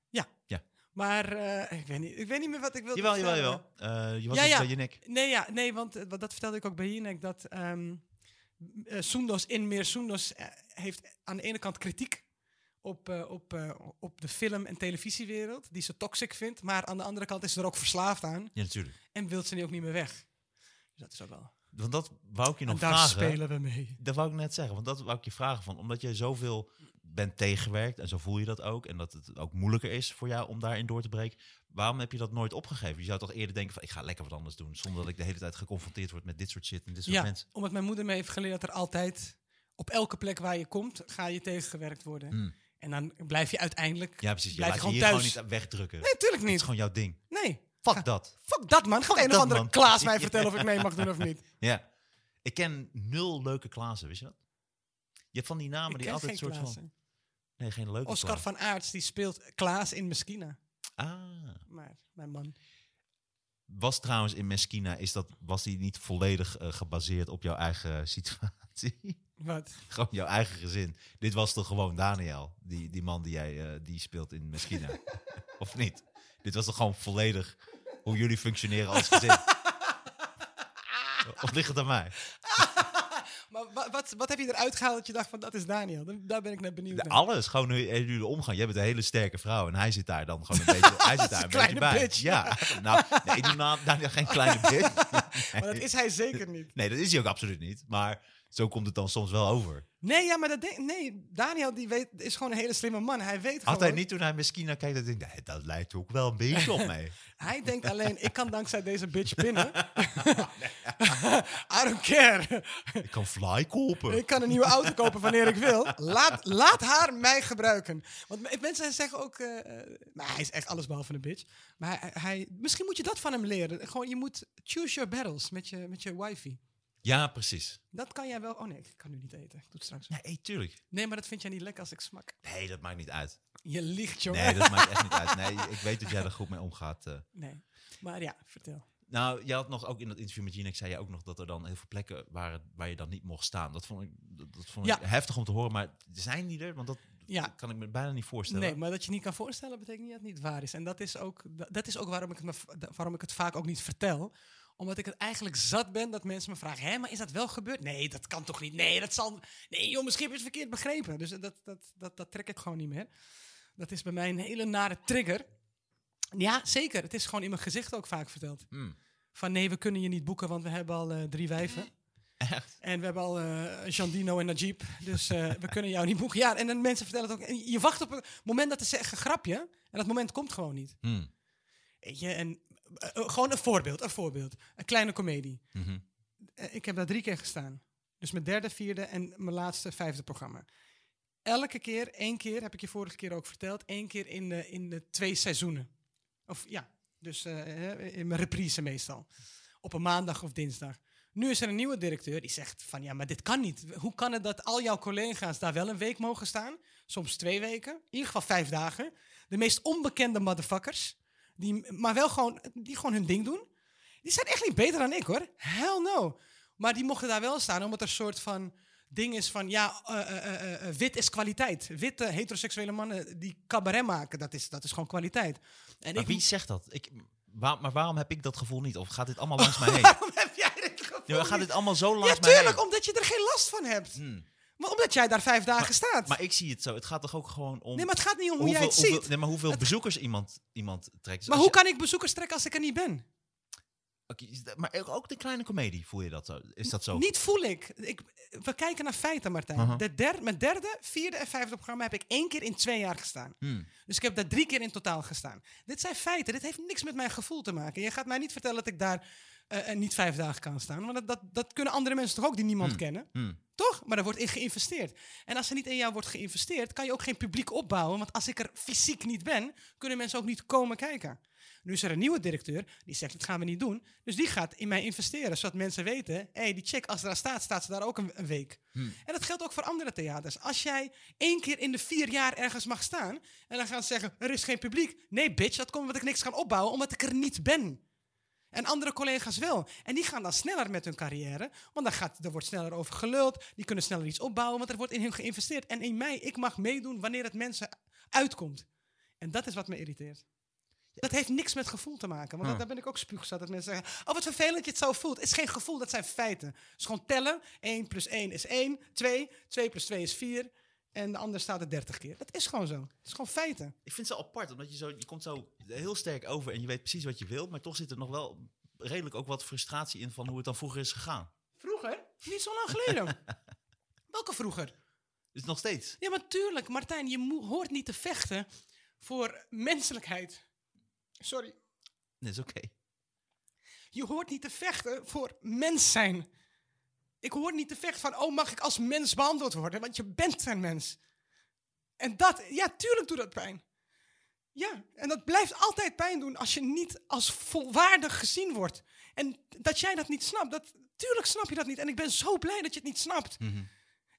[SPEAKER 2] Maar eh, ik, weet niet, ik weet niet meer wat ik wilde
[SPEAKER 3] Jawel, jawel,
[SPEAKER 2] vertellen.
[SPEAKER 3] jawel. Eh, je was
[SPEAKER 2] Ja,
[SPEAKER 3] iets
[SPEAKER 2] ja.
[SPEAKER 3] bij je nek.
[SPEAKER 2] Nee, ja, nee want eh, wat- dat vertelde ik ook bij Jinek. Dat ehm eh, Soendos in meer Soendos eh, heeft aan de ene kant kritiek op, eh, op, eh, op de film- en televisiewereld. Die ze toxic vindt. Maar aan de andere kant is ze er ook verslaafd aan.
[SPEAKER 3] Ja, natuurlijk.
[SPEAKER 2] En wil ze die ook niet meer weg. Dus dat is ook wel...
[SPEAKER 3] Want dat wou ik je
[SPEAKER 2] En
[SPEAKER 3] nog
[SPEAKER 2] daar
[SPEAKER 3] vragen.
[SPEAKER 2] spelen we mee.
[SPEAKER 3] Dat wou ik net zeggen, want dat wou ik je vragen van. Omdat jij zoveel bent tegengewerkt en zo voel je dat ook. En dat het ook moeilijker is voor jou om daarin door te breken. Waarom heb je dat nooit opgegeven? Je zou toch eerder denken van, ik ga lekker wat anders doen. Zonder dat ik de hele tijd geconfronteerd word met dit soort shit en dit soort
[SPEAKER 2] Ja,
[SPEAKER 3] mensen.
[SPEAKER 2] omdat mijn moeder me heeft geleerd dat er altijd... Op elke plek waar je komt, ga je tegengewerkt worden.
[SPEAKER 3] Hmm.
[SPEAKER 2] En dan blijf je uiteindelijk...
[SPEAKER 3] Ja, precies. Je
[SPEAKER 2] Blijf
[SPEAKER 3] laat je
[SPEAKER 2] gewoon
[SPEAKER 3] hier
[SPEAKER 2] thuis.
[SPEAKER 3] gewoon niet wegdrukken.
[SPEAKER 2] Nee, natuurlijk
[SPEAKER 3] Het is
[SPEAKER 2] niet.
[SPEAKER 3] gewoon jouw ding.
[SPEAKER 2] Nee.
[SPEAKER 3] Fuck dat.
[SPEAKER 2] Fuck dat, man. Gaat
[SPEAKER 3] Fuck
[SPEAKER 2] een of
[SPEAKER 3] dat,
[SPEAKER 2] andere
[SPEAKER 3] man.
[SPEAKER 2] Klaas mij
[SPEAKER 3] Ja.
[SPEAKER 2] vertellen of ik mee mag doen of niet.
[SPEAKER 3] Ja. Ik ken nul leuke Klaassen, wist je dat? Je hebt van die namen
[SPEAKER 2] ik
[SPEAKER 3] die
[SPEAKER 2] ken
[SPEAKER 3] altijd
[SPEAKER 2] geen
[SPEAKER 3] een soort
[SPEAKER 2] Klaassen.
[SPEAKER 3] van... Nee, geen leuke
[SPEAKER 2] Oscar
[SPEAKER 3] Klaassen.
[SPEAKER 2] van Aerts, die speelt Klaas in Meskina.
[SPEAKER 3] Ah.
[SPEAKER 2] Maar mijn man.
[SPEAKER 3] Was trouwens in Meskina, is dat, was die niet volledig eh, gebaseerd op jouw eigen situatie?
[SPEAKER 2] Wat?
[SPEAKER 3] gewoon jouw eigen gezin. Dit was toch gewoon Daniel, die, die man die jij eh, die speelt in Meskina? of niet? Dit was toch gewoon volledig hoe jullie functioneren als gezin? of ligt het aan mij?
[SPEAKER 2] Maar wa- wat, wat heb je eruit gehaald dat je dacht van dat is Daniel? Dan- Daar ben ik net benieuwd
[SPEAKER 3] De-
[SPEAKER 2] naar.
[SPEAKER 3] alles, gewoon hoe hoe jullie omgaan. Jij bent een hele sterke vrouw en hij zit daar dan gewoon een beetje, hij zit daar een
[SPEAKER 2] Als een
[SPEAKER 3] beetje bij.
[SPEAKER 2] kleine bitch.
[SPEAKER 3] Ja, nou, nee, doe nou, Daniel geen kleine bitch. Nee.
[SPEAKER 2] Maar dat is hij zeker niet.
[SPEAKER 3] nee, dat is hij ook absoluut niet. Maar zo komt het dan soms wel over.
[SPEAKER 2] Nee, ja, maar dat denk- nee, Daniel die weet, is gewoon een hele slimme man. Hij weet
[SPEAKER 3] Had hij
[SPEAKER 2] gewoon-
[SPEAKER 3] niet toen hij misschien naar keek, dat ik nee, dat lijkt ook wel een beetje op mij.
[SPEAKER 2] Hij denkt alleen, ik kan dankzij deze bitch pinnen.
[SPEAKER 3] Ah,
[SPEAKER 2] I don't care.
[SPEAKER 3] Ik kan fly kopen.
[SPEAKER 2] Ik kan een nieuwe auto kopen wanneer ik wil. Laat, laat haar mij gebruiken. Want me- mensen zeggen ook... eh, eh, maar hij is echt allesbehalve een bitch. Maar hij, hij- misschien moet je dat van hem leren. Gewoon, je moet choose your battles met je, met je wifey.
[SPEAKER 3] Ja, precies.
[SPEAKER 2] Dat kan jij wel... Oh nee, ik kan nu niet eten. Ik doe het straks. wel.
[SPEAKER 3] Nee, tuurlijk.
[SPEAKER 2] Nee, maar dat vind jij niet lekker als ik smak.
[SPEAKER 3] Nee, dat maakt niet uit.
[SPEAKER 2] Je liegt, jongen.
[SPEAKER 3] Nee, dat maakt echt niet uit. Nee, ik weet dat jij er goed mee omgaat. eh.
[SPEAKER 2] Nee. Maar ja, vertel.
[SPEAKER 3] Nou, je had nog ook in dat interview met Jinek zei je ook nog dat er dan heel veel plekken waren waar je dan niet mocht staan. Dat vond ik, dat, dat vond
[SPEAKER 2] Ja.
[SPEAKER 3] ik heftig om te horen, maar zijn die er? Want dat
[SPEAKER 2] Ja.
[SPEAKER 3] kan ik me bijna niet voorstellen.
[SPEAKER 2] Nee, maar dat je niet kan voorstellen betekent niet dat het niet waar is. En dat is ook, da- dat is ook waarom, ik het me, v- da- waarom ik het vaak ook niet vertel. Omdat ik het eigenlijk zat ben dat mensen me vragen: hé, maar is dat wel gebeurd? Nee, dat kan toch niet? Nee, dat zal. Nee, joh, misschien heb je het verkeerd begrepen. Dus dat, dat, dat, dat trek ik gewoon niet meer. Dat is bij mij een hele nare trigger. Ja, zeker. Het is gewoon in mijn gezicht ook vaak verteld.
[SPEAKER 3] Hmm.
[SPEAKER 2] Van nee, we kunnen je niet boeken, want we hebben al eh, drie wijven.
[SPEAKER 3] Echt?
[SPEAKER 2] En we hebben al eh Jandino en Najib, dus eh, we kunnen jou niet boeken. Ja, en dan mensen vertellen het ook. En je wacht op het moment dat ze zeggen grapje, en dat moment komt gewoon niet.
[SPEAKER 3] Hmm.
[SPEAKER 2] Weet je, en eh, eh, gewoon een voorbeeld, een voorbeeld. Een kleine komedie.
[SPEAKER 3] Mhm.
[SPEAKER 2] Eh, ik heb daar drie keer gestaan. Dus mijn derde, vierde en mijn laatste, vijfde programma. Elke keer, één keer, heb ik je vorige keer ook verteld, één keer in de, in de twee seizoenen. Of ja, dus eh, eh, in mijn reprise meestal. Op een maandag of dinsdag. Nu is er een nieuwe directeur die zegt van ja, maar dit kan niet. Hoe kan het dat al jouw collega's daar wel een week mogen staan? Soms twee weken, in ieder geval vijf dagen. De meest onbekende motherfuckers, die, maar wel gewoon, die gewoon hun ding doen. Die zijn echt niet beter dan ik hoor. Hell no. Maar die mochten daar wel staan, omdat er een soort van ding is van ja, eh, eh, eh, eh, wit is kwaliteit. Witte heteroseksuele mannen die cabaret maken, dat is, dat is gewoon kwaliteit. En
[SPEAKER 3] Maar
[SPEAKER 2] ik
[SPEAKER 3] wie zegt dat? Ik, waar- maar waarom heb ik dat gevoel niet? Of gaat dit allemaal langs mij heen?
[SPEAKER 2] Waarom heb jij dit gevoel?
[SPEAKER 3] Ja, maar gaat dit allemaal zo
[SPEAKER 2] Ja,
[SPEAKER 3] langs mij heen?
[SPEAKER 2] tuurlijk, omdat je er geen last van hebt.
[SPEAKER 3] Hmm.
[SPEAKER 2] Maar omdat jij daar vijf dagen staat.
[SPEAKER 3] Maar ik zie het zo. Het gaat toch ook gewoon om...
[SPEAKER 2] nee, maar het gaat niet om hoe
[SPEAKER 3] hoeveel,
[SPEAKER 2] jij het
[SPEAKER 3] hoeveel-
[SPEAKER 2] ziet.
[SPEAKER 3] nee, maar hoeveel bezoekers iemand, iemand trekt. Dus
[SPEAKER 2] maar
[SPEAKER 3] als
[SPEAKER 2] hoe kan ik bezoekers trekken als ik er niet ben?
[SPEAKER 3] je- oké, is dat- maar ook de kleine komedie, voel je dat zo? Is dat zo?
[SPEAKER 2] Niet voel ik. ik. We kijken naar feiten, Martijn.
[SPEAKER 3] Aha.
[SPEAKER 2] de derde, mijn derde, vierde en vijfde programma heb ik één keer in twee jaar gestaan.
[SPEAKER 3] Hmm.
[SPEAKER 2] Dus ik heb daar drie keer in totaal gestaan. Dit zijn feiten. Dit heeft niks met mijn gevoel te maken. Je gaat mij niet vertellen dat ik daar eh, eh, niet vijf dagen kan staan. Want dat, dat, dat kunnen andere mensen toch ook die niemand
[SPEAKER 3] Hmm.
[SPEAKER 2] kennen?
[SPEAKER 3] Hmm.
[SPEAKER 2] Toch? Maar daar wordt in geïnvesteerd. En als er niet in jou wordt geïnvesteerd, kan je ook geen publiek opbouwen. Want als ik er fysiek niet ben, kunnen mensen ook niet komen kijken. Nu is er een nieuwe directeur, die zegt, dat gaan we niet doen. Dus die gaat in mij investeren, zodat mensen weten... hé, hey, die chick, als ze daar staat, staat ze daar ook een, een week.
[SPEAKER 3] Hmm.
[SPEAKER 2] En dat geldt ook voor andere theaters. Als jij één keer in de vier jaar ergens mag staan... en dan gaan ze zeggen, er is geen publiek. Nee, bitch, dat komt omdat ik niks kan opbouwen, omdat ik er niet ben. En andere collega's wel. En die gaan dan sneller met hun carrière. Want dan gaat, er wordt sneller over geluld. Die kunnen sneller iets opbouwen. Want er wordt in hun geïnvesteerd. En in mij, ik mag meedoen wanneer het mensen uitkomt. En dat is wat me irriteert. Dat heeft niks met gevoel te maken. Want
[SPEAKER 3] Huh.
[SPEAKER 2] dat- daar ben ik ook spuugzat. Dat mensen zeggen, oh wat vervelend dat je het zo voelt. Het is geen gevoel, dat zijn feiten. Het is gewoon tellen. 1 plus 1 is 1. 2. 2 plus 2 is 4. En de ander staat er 30 keer. Dat is gewoon zo. Het is gewoon feiten.
[SPEAKER 3] Ik vind het zo apart, omdat je zo... Je komt zo heel sterk over en je weet precies wat je wilt. Maar toch zit er nog wel redelijk ook wat frustratie in van hoe het dan vroeger is gegaan.
[SPEAKER 2] Vroeger? Niet zo lang geleden. Welke vroeger?
[SPEAKER 3] Is het nog steeds?
[SPEAKER 2] Ja, maar tuurlijk, Martijn, je mo- hoort niet te vechten voor menselijkheid. Sorry.
[SPEAKER 3] Nee, is oké.
[SPEAKER 2] Je hoort niet te vechten voor mens zijn. Ik hoor niet te vechten van, oh, mag ik als mens behandeld worden? Want je bent een mens. En dat, ja, tuurlijk doet dat pijn. Ja, en dat blijft altijd pijn doen als je niet als volwaardig gezien wordt. En dat jij dat niet snapt, dat, tuurlijk snap je dat niet. En ik ben zo blij dat je het niet snapt.
[SPEAKER 3] Mhm.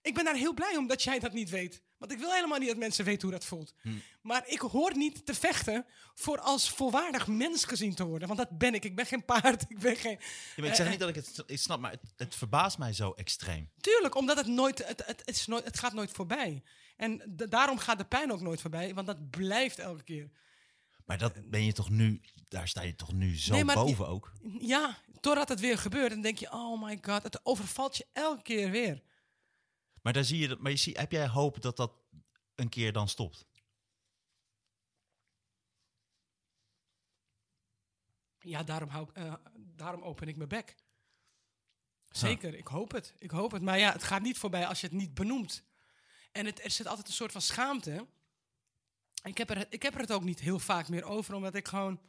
[SPEAKER 2] Ik ben daar heel blij om dat jij dat niet weet. Want ik wil helemaal niet dat mensen weten hoe dat voelt. Maar ik hoor niet te vechten voor als volwaardig mens gezien te worden. Want dat ben ik. Ik ben geen paard. Ik ben geen...
[SPEAKER 3] Ja, maar ik zeg
[SPEAKER 2] eh.
[SPEAKER 3] niet dat ik het s- ik snap, maar het, het verbaast mij zo extreem.
[SPEAKER 2] Tuurlijk, omdat het nooit... Het, het, het, is nooit, het gaat nooit voorbij. En da- daarom gaat de pijn ook nooit voorbij. Want dat blijft elke keer.
[SPEAKER 3] Maar dat ben je toch nu... Daar sta je toch nu zo
[SPEAKER 2] Nee, maar-
[SPEAKER 3] boven ook?
[SPEAKER 2] Ja, totdat het weer gebeurt. Dan denk je, oh my god. Het overvalt je elke keer weer.
[SPEAKER 3] Maar, daar zie je dat, maar je zie, heb jij hoop dat dat een keer dan stopt?
[SPEAKER 2] Ja, daarom, hou, ik- eh, daarom open ik mijn bek. Zeker, ik hoop het. Ik hoop het. Maar ja, het gaat niet voorbij als je het niet benoemt. En het, er zit altijd een soort van schaamte. Ik heb, er, ik heb er het ook niet heel vaak meer over, omdat ik gewoon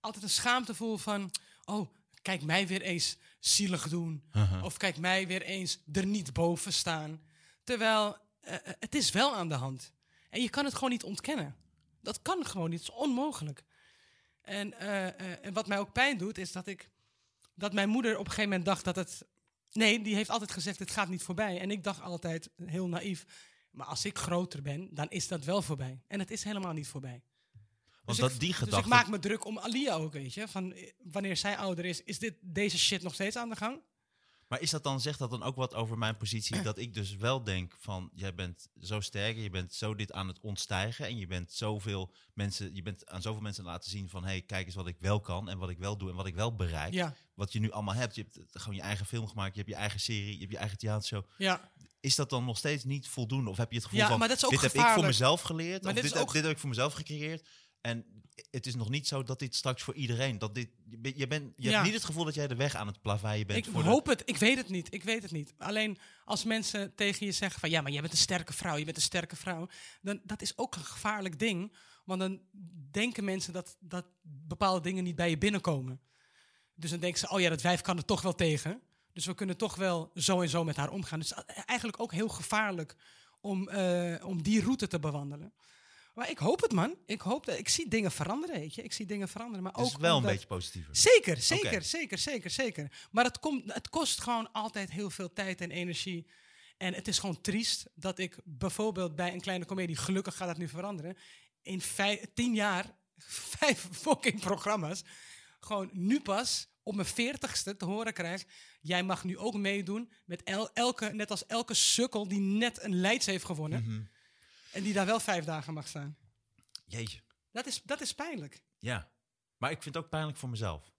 [SPEAKER 2] altijd een schaamte voel van... Oh, kijk mij weer eens zielig doen.
[SPEAKER 3] Uh-huh.
[SPEAKER 2] Of kijk mij weer eens er niet boven staan. Terwijl, eh, eh, het is wel aan de hand. En je kan het gewoon niet ontkennen. Dat kan gewoon niet. Het is onmogelijk. En, eh, eh, en wat mij ook pijn doet, is dat ik... Dat mijn moeder op een gegeven moment dacht dat het... Nee, die heeft altijd gezegd, het gaat niet voorbij. En ik dacht altijd, heel naïef... Maar als ik groter ben, dan is dat wel voorbij. En het is helemaal niet voorbij. Dus
[SPEAKER 3] Want
[SPEAKER 2] ik-
[SPEAKER 3] dat die
[SPEAKER 2] Dus ik
[SPEAKER 3] gedachte...
[SPEAKER 2] maak me druk om Alia ook, weet je. Van, eh, wanneer zij ouder is, is dit, deze shit nog steeds aan de gang?
[SPEAKER 3] Maar is dat dan, zegt dat dan ook wat over mijn positie? Dat ik dus wel denk van, jij bent zo sterk, en je bent zo dit aan het ontstijgen en je bent zoveel mensen, je bent aan zoveel mensen laten zien van, hé, hey, kijk eens wat ik wel kan en wat ik wel doe en wat ik wel bereik.
[SPEAKER 2] Ja,
[SPEAKER 3] Wat je nu allemaal hebt, je hebt eh, gewoon je eigen film gemaakt, je hebt je eigen serie, je hebt je eigen theatershow.
[SPEAKER 2] ja.
[SPEAKER 3] Is dat dan nog steeds niet voldoende? Of heb je het gevoel
[SPEAKER 2] Ja,
[SPEAKER 3] van,
[SPEAKER 2] maar dat is ook
[SPEAKER 3] dit heb ik
[SPEAKER 2] gevaarlijk.
[SPEAKER 3] voor mezelf geleerd,
[SPEAKER 2] Maar
[SPEAKER 3] of
[SPEAKER 2] dit
[SPEAKER 3] dit,
[SPEAKER 2] is ook-
[SPEAKER 3] heb, dit heb ik voor mezelf gecreëerd. En het is nog niet zo dat dit straks voor iedereen, dat dit, je, bent- je, bent- je
[SPEAKER 2] Ja.
[SPEAKER 3] hebt niet het gevoel dat jij de weg aan het plaveien bent.
[SPEAKER 2] Ik
[SPEAKER 3] voor de-
[SPEAKER 2] hoop het. Ik weet het niet. Ik weet het niet. Alleen als mensen tegen je zeggen van ja, maar jij bent een sterke vrouw, je bent een sterke vrouw, dan dat is ook een gevaarlijk ding, want dan denken mensen dat dat bepaalde dingen niet bij je binnenkomen. Dus dan denken ze oh ja, dat wijf kan er toch wel tegen. Dus we kunnen toch wel zo en zo met haar eh, omgaan. Dus a- eigenlijk ook heel gevaarlijk om, eh, om die route te bewandelen. Maar ik hoop het, man. Ik hoop dat ik zie dingen veranderen, weet je. Ik zie dingen veranderen, maar
[SPEAKER 3] Dus Het is
[SPEAKER 2] ook
[SPEAKER 3] wel een
[SPEAKER 2] omdat-
[SPEAKER 3] beetje positiever.
[SPEAKER 2] Zeker, zeker,
[SPEAKER 3] Oké.
[SPEAKER 2] zeker, zeker, zeker. Maar het, komt, het kost gewoon altijd heel veel tijd en energie. En het is gewoon triest dat ik bijvoorbeeld bij een kleine komedie, gelukkig gaat dat nu veranderen, in vijf, tien jaar vijf fucking programma's, gewoon nu pas op mijn veertigste te horen krijg, jij mag nu ook meedoen met el- elke, net als elke sukkel die net een Leids heeft gewonnen
[SPEAKER 3] Mhm.
[SPEAKER 2] en die daar wel vijf dagen mag staan.
[SPEAKER 3] Jeetje.
[SPEAKER 2] Dat is, dat is pijnlijk.
[SPEAKER 3] Ja, maar ik vind het ook pijnlijk voor mezelf.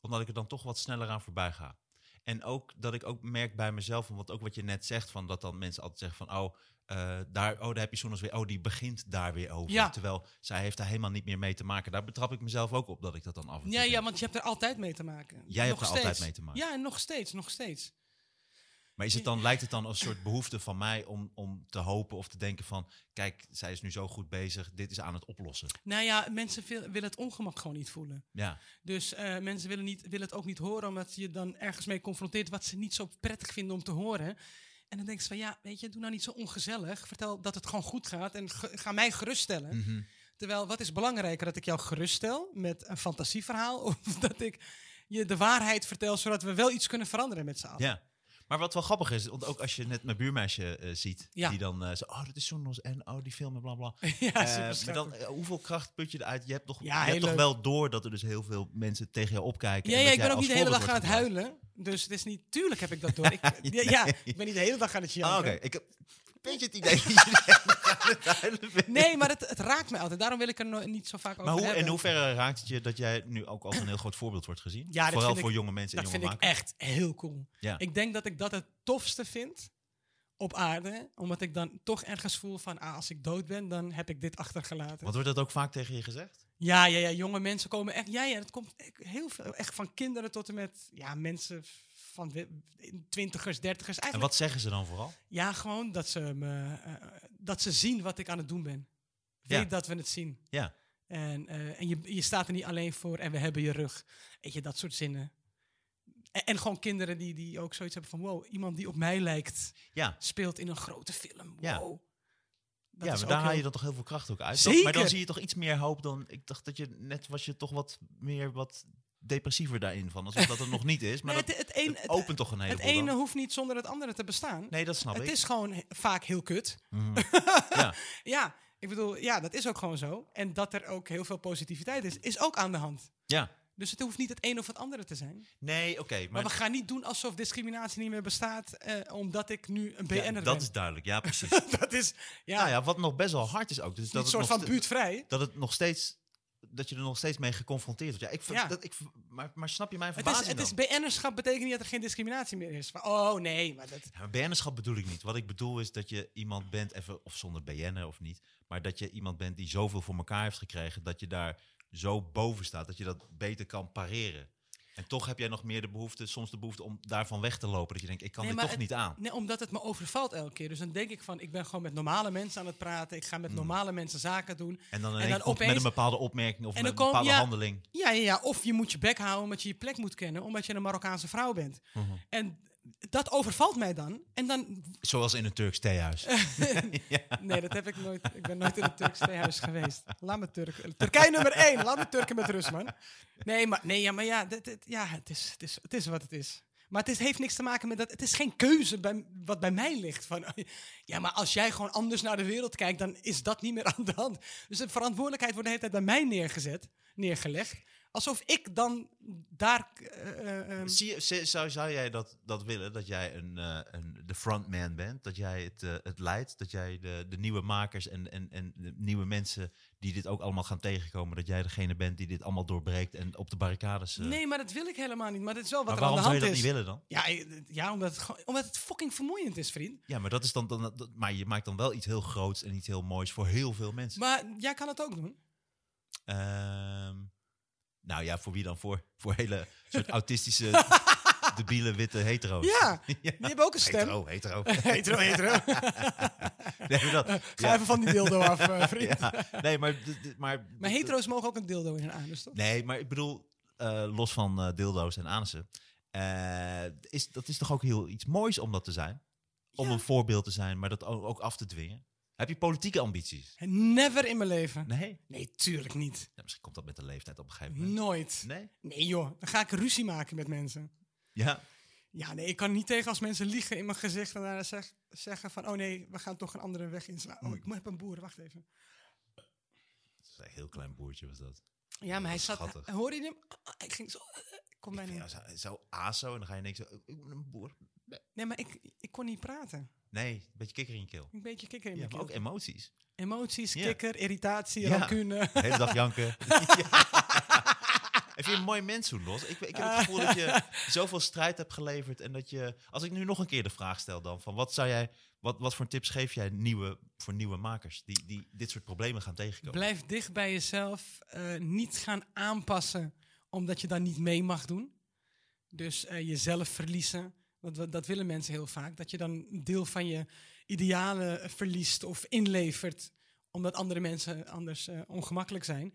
[SPEAKER 3] Omdat ik er dan toch wat sneller aan voorbij ga. En ook dat ik ook merk bij mezelf, want ook wat je net zegt, van dat dan mensen altijd zeggen van, oh, eh, daar, oh daar heb je soms weer, oh, die begint daar weer over.
[SPEAKER 2] Ja.
[SPEAKER 3] Terwijl zij heeft daar helemaal niet meer mee te maken. Daar betrap ik mezelf ook op dat ik dat dan af en toe
[SPEAKER 2] Ja, ja,
[SPEAKER 3] denk.
[SPEAKER 2] want je hebt er altijd mee te maken.
[SPEAKER 3] Jij hebt er
[SPEAKER 2] Nog
[SPEAKER 3] altijd
[SPEAKER 2] steeds.
[SPEAKER 3] mee te maken.
[SPEAKER 2] Ja, en nog steeds, nog steeds.
[SPEAKER 3] Maar is het dan, lijkt het dan als een soort behoefte van mij om, om te hopen of te denken van, kijk, zij is nu zo goed bezig, dit is aan het oplossen.
[SPEAKER 2] Nou ja, mensen vil- willen het ongemak gewoon niet voelen.
[SPEAKER 3] Ja,
[SPEAKER 2] Dus eh, mensen willen, niet, willen het ook niet horen, omdat je dan ergens mee confronteert wat ze niet zo prettig vinden om te horen. En dan denken ze van, ja, weet je, doe nou niet zo ongezellig. Vertel dat het gewoon goed gaat en ge- ga mij geruststellen.
[SPEAKER 3] Mhm.
[SPEAKER 2] Terwijl, wat is belangrijker, dat ik jou geruststel met een fantasieverhaal? Of dat ik je de waarheid vertel, zodat we wel iets kunnen veranderen met z'n allen?
[SPEAKER 3] Ja. Maar wat wel grappig is, want ook als je net mijn buurmeisje eh, ziet,
[SPEAKER 2] Ja.
[SPEAKER 3] die dan eh zo, oh, dat is Sonos en oh, die film en bla bla.
[SPEAKER 2] Ja,
[SPEAKER 3] Eh,
[SPEAKER 2] super
[SPEAKER 3] maar
[SPEAKER 2] schattig.
[SPEAKER 3] dan, eh, hoeveel kracht put je eruit? Je hebt toch,
[SPEAKER 2] Ja,
[SPEAKER 3] je
[SPEAKER 2] heel
[SPEAKER 3] hebt toch
[SPEAKER 2] leuk.
[SPEAKER 3] wel door dat er dus heel veel mensen tegen jou opkijken.
[SPEAKER 2] Ja,
[SPEAKER 3] en
[SPEAKER 2] ja,
[SPEAKER 3] dat
[SPEAKER 2] ik ben
[SPEAKER 3] jij
[SPEAKER 2] ook niet de
[SPEAKER 3] als
[SPEAKER 2] hele dag aan
[SPEAKER 3] voorbeeld
[SPEAKER 2] het
[SPEAKER 3] wordt
[SPEAKER 2] huilen. Dus het is niet... Tuurlijk heb ik dat door. Ik, ja, ja,
[SPEAKER 3] Nee.
[SPEAKER 2] ik ben niet de hele dag aan het janken.
[SPEAKER 3] gebruikt. Ah, oké. Ik heb een beetje het idee dat je de hele dag aan het huilen bent.
[SPEAKER 2] Nee, maar het, het raakt me altijd. Daarom wil ik er no- niet zo vaak over
[SPEAKER 3] Maar hoe,
[SPEAKER 2] hebben.
[SPEAKER 3] in hoeverre raakt het je dat jij nu ook als een heel groot voorbeeld wordt gezien?
[SPEAKER 2] Ja, dat
[SPEAKER 3] Vooral
[SPEAKER 2] vind ik-
[SPEAKER 3] voor jonge mensen en
[SPEAKER 2] dat
[SPEAKER 3] jonge
[SPEAKER 2] vind ik
[SPEAKER 3] makers.
[SPEAKER 2] echt heel cool.
[SPEAKER 3] Ja.
[SPEAKER 2] Ik denk dat ik dat het tofste vind op aarde. Omdat ik dan toch ergens voel van... Ah, als ik dood ben, dan heb ik dit achtergelaten.
[SPEAKER 3] Want wordt dat ook vaak tegen je gezegd?
[SPEAKER 2] Ja, ja, ja, jonge mensen komen echt... Ja, ja, dat komt echt heel veel. Echt van kinderen tot en met ja, mensen van we- twintigers, dertigers.
[SPEAKER 3] En
[SPEAKER 2] Eigenlijk
[SPEAKER 3] wat zeggen ze dan vooral?
[SPEAKER 2] Ja, gewoon dat ze, me, eh, eh, dat ze zien wat ik aan het doen ben.
[SPEAKER 3] Ja.
[SPEAKER 2] Weet dat we het zien.
[SPEAKER 3] Ja.
[SPEAKER 2] En, eh, en je, je staat er niet alleen voor en we hebben je rug. Weet je, dat soort zinnen. En, en gewoon kinderen die, die ook zoiets hebben van... wow, iemand die op mij lijkt
[SPEAKER 3] Ja.
[SPEAKER 2] speelt in een grote film. Wow.
[SPEAKER 3] Ja.
[SPEAKER 2] Dat
[SPEAKER 3] ja,
[SPEAKER 2] is
[SPEAKER 3] maar
[SPEAKER 2] ook
[SPEAKER 3] daar haal
[SPEAKER 2] heel-
[SPEAKER 3] je dan toch heel veel kracht ook uit.
[SPEAKER 2] Zeker.
[SPEAKER 3] Maar dan zie je toch iets meer hoop dan... Ik dacht dat je net was je toch wat meer wat depressiever daarin van. Alsof dat er nog niet is. Maar
[SPEAKER 2] Nee,
[SPEAKER 3] dat,
[SPEAKER 2] het, het, een,
[SPEAKER 3] dat
[SPEAKER 2] het,
[SPEAKER 3] opent toch een
[SPEAKER 2] het
[SPEAKER 3] heleboel
[SPEAKER 2] ene
[SPEAKER 3] dan.
[SPEAKER 2] hoeft niet zonder het andere te bestaan.
[SPEAKER 3] Nee, dat snap
[SPEAKER 2] het
[SPEAKER 3] ik.
[SPEAKER 2] is gewoon he- vaak heel kut.
[SPEAKER 3] Mhm. ja.
[SPEAKER 2] Ja, ik bedoel, ja, dat is ook gewoon zo. En dat er ook heel veel positiviteit is, is ook aan de hand.
[SPEAKER 3] ja.
[SPEAKER 2] Dus het hoeft niet het een of het andere te zijn. Maar,
[SPEAKER 3] Nee, oké. maar
[SPEAKER 2] we gaan niet doen alsof discriminatie niet meer bestaat, eh, omdat ik nu een
[SPEAKER 3] ja,
[SPEAKER 2] BN'er ben.
[SPEAKER 3] dat is duidelijk. Ja, precies.
[SPEAKER 2] dat is ja,
[SPEAKER 3] Nou ja, wat nog best wel hard is ook. Dus dat
[SPEAKER 2] een
[SPEAKER 3] het
[SPEAKER 2] soort
[SPEAKER 3] nog
[SPEAKER 2] van
[SPEAKER 3] ste-
[SPEAKER 2] buurtvrij.
[SPEAKER 3] Dat het nog steeds... Dat je er nog steeds mee geconfronteerd wordt. Ja, ik, ver-
[SPEAKER 2] Ja.
[SPEAKER 3] Dat, ik ver- maar, maar snap je mijn
[SPEAKER 2] Het is,
[SPEAKER 3] verbazing
[SPEAKER 2] het is
[SPEAKER 3] dan?
[SPEAKER 2] BN'erschap betekent niet dat er geen discriminatie meer is. Maar, oh nee, maar dat...
[SPEAKER 3] Ja, maar BN'erschap bedoel ik niet. Wat ik bedoel is dat je iemand bent, even, of zonder BN'er of niet, maar dat je iemand bent die zoveel voor elkaar heeft gekregen, dat je daar zo boven staat, dat je dat beter kan pareren. En toch heb jij nog meer de behoefte, soms de behoefte om daarvan weg te lopen. Dat je denkt, ik kan
[SPEAKER 2] Nee,
[SPEAKER 3] dit
[SPEAKER 2] maar
[SPEAKER 3] toch niet aan.
[SPEAKER 2] Nee, omdat het me overvalt elke keer. Dus dan denk ik van, ik ben gewoon met normale mensen aan het praten. Ik ga met
[SPEAKER 3] Hmm.
[SPEAKER 2] normale mensen zaken doen.
[SPEAKER 3] En dan,
[SPEAKER 2] En
[SPEAKER 3] ineens
[SPEAKER 2] dan
[SPEAKER 3] komt met
[SPEAKER 2] opeens-
[SPEAKER 3] een bepaalde opmerking of
[SPEAKER 2] En
[SPEAKER 3] met een
[SPEAKER 2] dan kom-
[SPEAKER 3] bepaalde
[SPEAKER 2] ja.
[SPEAKER 3] handeling.
[SPEAKER 2] Ja, ja, ja, of je moet je bek houden omdat je je plek moet kennen, omdat je een Marokkaanse vrouw bent.
[SPEAKER 3] Mhm.
[SPEAKER 2] En dat overvalt mij dan. En dan
[SPEAKER 3] Zoals in een Turks theehuis.
[SPEAKER 2] Nee, dat heb ik nooit. Ik ben nooit in het Turks theehuis geweest. Laat me Turken. Turkije nummer één. Laat me Turken met rust, man. Nee, maar, nee, ja, maar ja, dit, dit- ja het, is, het, is, het is wat het is. Maar het is, heeft niks te maken met dat. Het is geen keuze bij, wat bij mij ligt. Van, ja, maar als jij gewoon anders naar de wereld kijkt, dan is dat niet meer aan de hand. Dus de verantwoordelijkheid wordt de hele tijd bij mij neergezet, neergelegd. Alsof ik dan daar. eh, eh, ehm,
[SPEAKER 3] Zie je- zi- zou, zou jij dat, dat willen, dat jij een, eh, een, de frontman bent? Dat jij het, eh, het leidt? Dat jij de, de nieuwe makers en, en, en de nieuwe mensen die dit ook allemaal gaan tegenkomen... dat jij degene bent die dit allemaal doorbreekt en op de barricades... eh,
[SPEAKER 2] nee, maar dat wil ik helemaal niet. Maar dat is wel wat
[SPEAKER 3] maar
[SPEAKER 2] er aan
[SPEAKER 3] waarom
[SPEAKER 2] de
[SPEAKER 3] zou
[SPEAKER 2] hand
[SPEAKER 3] je dat
[SPEAKER 2] is.
[SPEAKER 3] niet willen
[SPEAKER 2] Ja,
[SPEAKER 3] dan?
[SPEAKER 2] eh, ja omdat, het, gewoon- omdat het fucking vermoeiend is, vriend.
[SPEAKER 3] Ja, maar, dat is dan, dan, dat- maar je maakt dan wel iets heel groots en iets heel moois voor heel veel mensen.
[SPEAKER 2] Maar jij kan het ook doen.
[SPEAKER 3] Ehm, nou ja, voor wie dan? Voor, voor hele soort autistische, debiele, witte hetero's.
[SPEAKER 2] Ja,
[SPEAKER 3] Ja.
[SPEAKER 2] die hebben ook een stem.
[SPEAKER 3] Hetero, hetero.
[SPEAKER 2] Hetero, hetero.
[SPEAKER 3] Nee, maar dat,
[SPEAKER 2] Ga
[SPEAKER 3] ja.
[SPEAKER 2] even van die dildo af, eh, vriend.
[SPEAKER 3] Ja, nee, maar, d- d- maar...
[SPEAKER 2] Maar hetero's mogen ook een dildo in hun anus, toch?
[SPEAKER 3] Nee, maar ik bedoel, eh, los van eh, dildo's en anussen... eh, is, dat is toch ook heel iets moois om dat te zijn? Om
[SPEAKER 2] Ja.
[SPEAKER 3] een voorbeeld te zijn, maar dat o- ook af te dwingen? Heb je politieke ambities?
[SPEAKER 2] Never in mijn leven.
[SPEAKER 3] Nee?
[SPEAKER 2] Nee, tuurlijk niet.
[SPEAKER 3] Ja, misschien komt dat met de leeftijd op een gegeven moment.
[SPEAKER 2] Nooit.
[SPEAKER 3] Nee?
[SPEAKER 2] Nee joh, dan ga ik ruzie maken met mensen.
[SPEAKER 3] Ja.
[SPEAKER 2] Ja, nee, ik kan niet tegen als mensen liegen in mijn gezicht en daarna zeg- zeggen van, oh nee, we gaan toch een andere weg inslaan.
[SPEAKER 3] Hmm.
[SPEAKER 2] Oh, ik moet heb een boer, wacht even.
[SPEAKER 3] Dat is een heel klein boertje was dat.
[SPEAKER 2] Ja, maar hij zat,
[SPEAKER 3] Schattig.
[SPEAKER 2] hoor hoorde je hem? Ah, Ik ging zo, ik kon bijna
[SPEAKER 3] Ik
[SPEAKER 2] niet.
[SPEAKER 3] vind jou zo, zo aso en dan ga je niks. zo, Ik ben een boer.
[SPEAKER 2] Nee, maar ik, ik kon niet praten.
[SPEAKER 3] Nee, een beetje kikker in je keel.
[SPEAKER 2] Een beetje kikker in
[SPEAKER 3] Ja,
[SPEAKER 2] mijn
[SPEAKER 3] maar
[SPEAKER 2] keel.
[SPEAKER 3] ook emoties.
[SPEAKER 2] Emoties,
[SPEAKER 3] Ja.
[SPEAKER 2] kikker, irritatie,
[SPEAKER 3] Ja.
[SPEAKER 2] rancune.
[SPEAKER 3] De hele dag janken. Ja. Heb je een mooi mens, Los? Ik, ik heb het gevoel dat je zoveel strijd hebt geleverd. En dat je. Als ik nu nog een keer de vraag stel, dan van wat zou jij. Wat, wat voor tips geef jij nieuwe, voor nieuwe makers die, die dit soort problemen gaan tegenkomen?
[SPEAKER 2] Blijf dicht bij jezelf. eh, niet gaan aanpassen omdat je daar niet mee mag doen. Dus eh, jezelf verliezen. Want we- dat willen mensen heel vaak. Dat je dan een deel van je idealen eh, verliest of inlevert. Omdat andere mensen anders eh, ongemakkelijk zijn.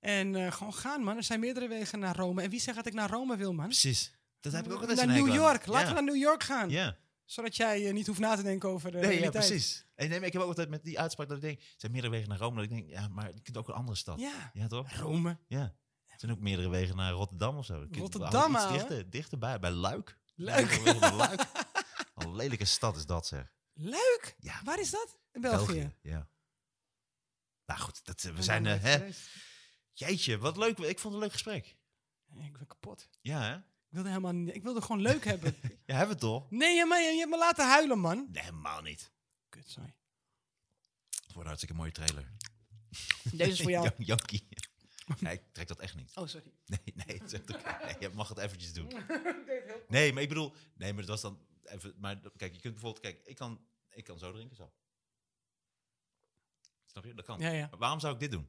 [SPEAKER 2] En eh, gewoon gaan, man. Er zijn meerdere wegen naar Rome. En wie zegt dat ik naar Rome wil, man?
[SPEAKER 3] Precies. Dat heb ik ook altijd
[SPEAKER 2] naar
[SPEAKER 3] een
[SPEAKER 2] New
[SPEAKER 3] hekel aan.
[SPEAKER 2] York. Laten
[SPEAKER 3] ja.
[SPEAKER 2] we naar New York gaan.
[SPEAKER 3] Ja.
[SPEAKER 2] Zodat jij eh, niet hoeft na te denken over de
[SPEAKER 3] Nee, ja,
[SPEAKER 2] realiteit.
[SPEAKER 3] precies. En nee, maar ik heb ook altijd met die uitspraak dat ik denk, er zijn meerdere wegen naar Rome. Dat ik denk, ja, maar je kunt ook een andere stad.
[SPEAKER 2] Ja,
[SPEAKER 3] Ja, toch?
[SPEAKER 2] Rome.
[SPEAKER 3] Ja. Er zijn ook meerdere wegen naar Rotterdam of zo. Je kunt
[SPEAKER 2] Rotterdam,
[SPEAKER 3] wel iets
[SPEAKER 2] ouwe.
[SPEAKER 3] dichter, dichterbij, bij Luik.
[SPEAKER 2] Luik.
[SPEAKER 3] Ja, bijvoorbeeld Luik. Wat een lelijke stad is dat, zeg.
[SPEAKER 2] Leuk!
[SPEAKER 3] Ja.
[SPEAKER 2] Waar is dat? In België. Oh,
[SPEAKER 3] Ja. Nou goed, dat, eh, we zijn... eh, hè? Jeetje, wat leuk. Ik vond het een leuk gesprek.
[SPEAKER 2] Ik ben kapot.
[SPEAKER 3] Ja, hè?
[SPEAKER 2] Ik wilde helemaal niet. Ik wilde gewoon leuk hebben.
[SPEAKER 3] Ja, hebben we het toch?
[SPEAKER 2] Nee, ja, maar je, je hebt me laten huilen, man.
[SPEAKER 3] Nee, helemaal niet.
[SPEAKER 2] Kut, sorry.
[SPEAKER 3] Het wordt een hartstikke mooie trailer.
[SPEAKER 2] Deze is voor jou.
[SPEAKER 3] Jan- Jankie. Nee, ik trek dat echt niet.
[SPEAKER 2] Oh, sorry.
[SPEAKER 3] Nee, nee, het is echt oké. Nee, je mag het eventjes doen. Nee, maar ik bedoel, nee, maar dat was dan even. Maar dat- kijk, je kunt bijvoorbeeld, kijk, ik kan, ik kan zo drinken, zo. Snap je? Dat kan.
[SPEAKER 2] Ja, ja.
[SPEAKER 3] Maar waarom zou ik dit doen?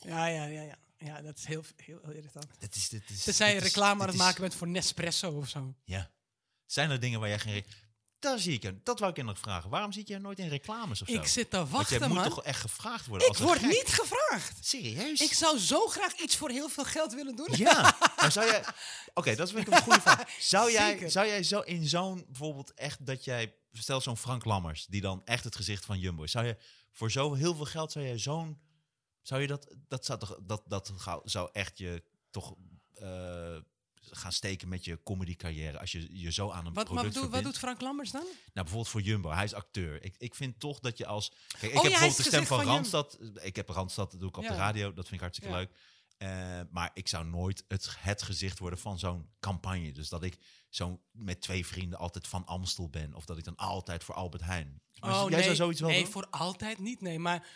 [SPEAKER 2] Ja, ja, ja, ja. Ja, dat is heel, heel, heel irritant.
[SPEAKER 3] Dit is, dit is.
[SPEAKER 2] Ze zijn
[SPEAKER 3] dit is-
[SPEAKER 2] reclame aan
[SPEAKER 3] dit
[SPEAKER 2] het
[SPEAKER 3] is-
[SPEAKER 2] maken met voor Nespresso of zo.
[SPEAKER 3] Ja. Zijn er dingen waar jij geen. re- Daar zie ik hem. Dat wou ik je nog vragen. Waarom zit jij nooit in reclames of zo?
[SPEAKER 2] Ik zit te
[SPEAKER 3] Want jij
[SPEAKER 2] wachten,
[SPEAKER 3] moet
[SPEAKER 2] man.
[SPEAKER 3] toch echt gevraagd worden.
[SPEAKER 2] Ik
[SPEAKER 3] als een
[SPEAKER 2] word
[SPEAKER 3] gek?
[SPEAKER 2] niet gevraagd.
[SPEAKER 3] Serieus?
[SPEAKER 2] Ik zou zo graag iets voor heel veel geld willen doen.
[SPEAKER 3] Ja, maar zou jij... Oké, dat is wel een goede vraag. Zou jij,
[SPEAKER 2] Zeker.
[SPEAKER 3] zou jij zo in zo'n bijvoorbeeld echt dat jij... Stel zo'n Frank Lammers, die dan echt het gezicht van Jumbo is. Zou je voor zo heel veel geld, zou jij zo'n... Zou je dat... Dat zou, toch, dat, dat gauw- zou echt je toch eh, gaan steken met je comedy carrière. Als je je zo aan een
[SPEAKER 2] Wat, maar
[SPEAKER 3] product
[SPEAKER 2] wat, doet- wat
[SPEAKER 3] verbindt.
[SPEAKER 2] doet Frank Lammers dan?
[SPEAKER 3] Nou, bijvoorbeeld voor Jumbo. Hij is acteur. Ik, ik vind toch dat je als... Kijk, ik
[SPEAKER 2] Oh
[SPEAKER 3] heb
[SPEAKER 2] ja, hij is
[SPEAKER 3] bijvoorbeeld de stem
[SPEAKER 2] gezicht
[SPEAKER 3] van,
[SPEAKER 2] van Jumbo.
[SPEAKER 3] Randstad. Ik heb Randstad, dat doe ik op de
[SPEAKER 2] Ja.
[SPEAKER 3] radio. Dat vind ik hartstikke
[SPEAKER 2] Ja.
[SPEAKER 3] leuk. Eh, maar ik zou nooit het, het gezicht worden van zo'n campagne. Dus dat ik zo met twee vrienden altijd van Amstel ben. Of dat ik dan altijd voor Albert Heijn. Maar jij
[SPEAKER 2] Oh, nee.
[SPEAKER 3] zou zoiets wel
[SPEAKER 2] Nee,
[SPEAKER 3] doen?
[SPEAKER 2] voor altijd niet, nee. Maar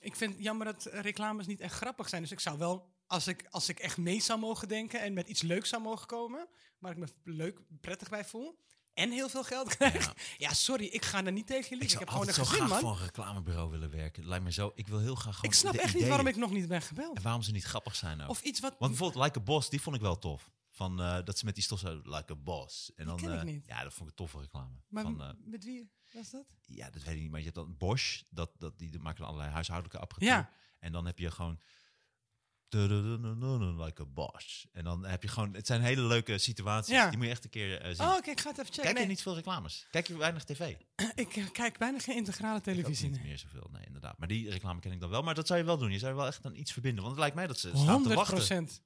[SPEAKER 2] ik vind het jammer dat eh, reclames niet echt grappig zijn. Dus ik zou wel, als ik, als ik echt mee zou mogen denken... en met iets leuks zou mogen komen... waar ik me leuk, prettig bij voel... en heel veel geld krijg... Ja, sorry, ik ga er niet tegen je
[SPEAKER 3] Ik
[SPEAKER 2] liegen. Ik, heb
[SPEAKER 3] zou
[SPEAKER 2] gewoon een
[SPEAKER 3] altijd zo
[SPEAKER 2] gezin,
[SPEAKER 3] graag
[SPEAKER 2] man.
[SPEAKER 3] voor een reclamebureau willen werken. Lijkt me zo... Ik wil heel graag gewoon
[SPEAKER 2] Ik snap
[SPEAKER 3] de
[SPEAKER 2] echt niet
[SPEAKER 3] ideeën.
[SPEAKER 2] waarom ik nog niet ben gebeld.
[SPEAKER 3] En waarom ze niet grappig zijn ook.
[SPEAKER 2] Of iets wat...
[SPEAKER 3] Want bijvoorbeeld Like a Boss, die vond ik wel tof. Van, eh, dat ze met die stof zo, Like a Boss. En dan,
[SPEAKER 2] ken ik
[SPEAKER 3] eh,
[SPEAKER 2] niet.
[SPEAKER 3] Ja, dat vond ik een toffe reclame.
[SPEAKER 2] maar
[SPEAKER 3] van, eh,
[SPEAKER 2] met wie was dat?
[SPEAKER 3] ja, dat weet ik niet, maar je hebt dan Bosch, dat, dat, die maken dan allerlei huishoudelijke apparatuur.
[SPEAKER 2] Ja.
[SPEAKER 3] En dan heb je gewoon... Like a Bosch. En dan heb je gewoon... Het zijn hele leuke situaties.
[SPEAKER 2] Ja.
[SPEAKER 3] Die moet je echt een keer eh, zien.
[SPEAKER 2] Oh, oké, ik ga het even checken.
[SPEAKER 3] Kijk je
[SPEAKER 2] Nee,
[SPEAKER 3] niet veel reclames? Kijk je weinig tv? Ik ook
[SPEAKER 2] Ik eh, kijk bijna geen integrale televisie.
[SPEAKER 3] niet
[SPEAKER 2] nee.
[SPEAKER 3] meer zoveel, nee, inderdaad. Maar die reclame ken ik dan wel. Maar dat zou je wel doen. Je zou je wel echt aan iets verbinden. Want het lijkt mij dat ze staan te
[SPEAKER 2] 100
[SPEAKER 3] wachten.
[SPEAKER 2] procent.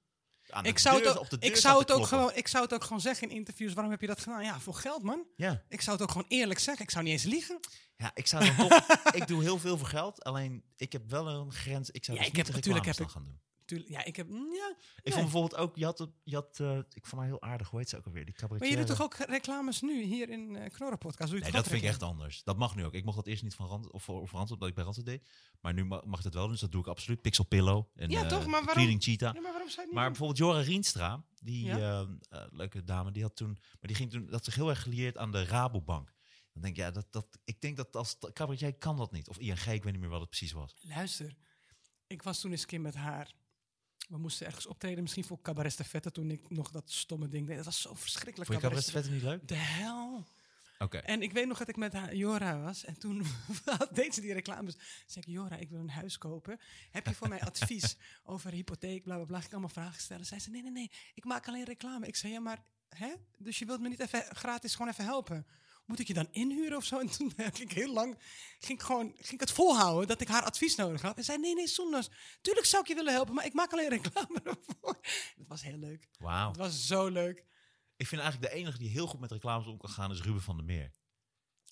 [SPEAKER 3] Aan de
[SPEAKER 2] Ik zou,
[SPEAKER 3] deur-
[SPEAKER 2] het ook,
[SPEAKER 3] op de deur
[SPEAKER 2] ik,
[SPEAKER 3] staan
[SPEAKER 2] zou
[SPEAKER 3] te
[SPEAKER 2] het ook
[SPEAKER 3] kloppen.
[SPEAKER 2] gewoon, ik zou het ook gewoon zeggen in interviews. Waarom heb je dat gedaan? Ja, voor geld, man.
[SPEAKER 3] Ja.
[SPEAKER 2] Ik zou het ook gewoon eerlijk zeggen. Ik zou niet eens liegen.
[SPEAKER 3] Ja, ik zou dan toch... ik doe heel veel voor geld. Alleen, ik heb wel een grens. Ik zou
[SPEAKER 2] Ja,
[SPEAKER 3] dus
[SPEAKER 2] ik heb-
[SPEAKER 3] niet de
[SPEAKER 2] natuurlijk
[SPEAKER 3] reclames
[SPEAKER 2] heb
[SPEAKER 3] dan gaan doen.
[SPEAKER 2] Tuurlijk, ja, ik heb... mm, Ja.
[SPEAKER 3] Ik vond bijvoorbeeld ook... Je had, het- je had eh, ik vond haar heel aardig. Hoe heet ze ook alweer? Die
[SPEAKER 2] Maar je doet
[SPEAKER 3] cabaretier.
[SPEAKER 2] toch ook reclames nu, hier in eh Knorren Podcast? Doe je toch
[SPEAKER 3] Nee, dat
[SPEAKER 2] ook
[SPEAKER 3] vind ik echt
[SPEAKER 2] reclame?
[SPEAKER 3] anders. Dat mag nu ook. Ik mocht dat eerst niet van Rand, of, of Rand, omdat ik bij Rand deed. Maar nu ma- mag ik dat wel, dus dat doe ik absoluut. Pixel Pillow en
[SPEAKER 2] Ja,
[SPEAKER 3] eh,
[SPEAKER 2] toch? Maar
[SPEAKER 3] de
[SPEAKER 2] waarom-
[SPEAKER 3] Cleaning Cheetah.
[SPEAKER 2] Ja, maar waarom zou je het
[SPEAKER 3] Maar
[SPEAKER 2] niet
[SPEAKER 3] bijvoorbeeld Jora Rienstra, die
[SPEAKER 2] Ja.
[SPEAKER 3] eh, eh, leuke dame, die had toen, maar die ging toen, dat zich heel erg geleerd aan de Rabobank. Dan denk ik, ja, dat, dat, ik denk dat als dat- cabaretier kan dat niet. Of ING, ik weet niet meer wat het precies was.
[SPEAKER 2] doen? Luister, ik was toen eens een keer met haar. We moesten ergens optreden. Misschien voor Cabaret Stafette toen ik nog dat stomme ding deed. Dat was zo verschrikkelijk.
[SPEAKER 3] Vond je cabaret
[SPEAKER 2] Stafette.
[SPEAKER 3] verder niet leuk?
[SPEAKER 2] De hel.
[SPEAKER 3] Oké.
[SPEAKER 2] En ik weet nog dat ik met haar, Jora was. En toen deed ze die reclames. Zeg ik, Jora, ik wil een huis kopen. Heb je voor mij advies over hypotheek, bla bla bla? Ging Ik allemaal vragen stellen. Zij zei, nee, nee, nee, ik maak alleen reclame. Ik zei, ja, maar hè? Dus je wilt me niet even gratis gewoon even helpen? moet ik je dan inhuren of zo? En toen heb ik heel lang, ging ik gewoon, ging ik het volhouden dat ik haar advies nodig had. En zei, nee, nee, Soendas, tuurlijk zou ik je willen helpen, maar ik maak alleen reclame ervoor. Het was heel leuk.
[SPEAKER 3] Wauw.
[SPEAKER 2] Het was zo leuk.
[SPEAKER 3] Ik vind eigenlijk de enige die heel goed met reclames om kan gaan is Ruben van der Meer.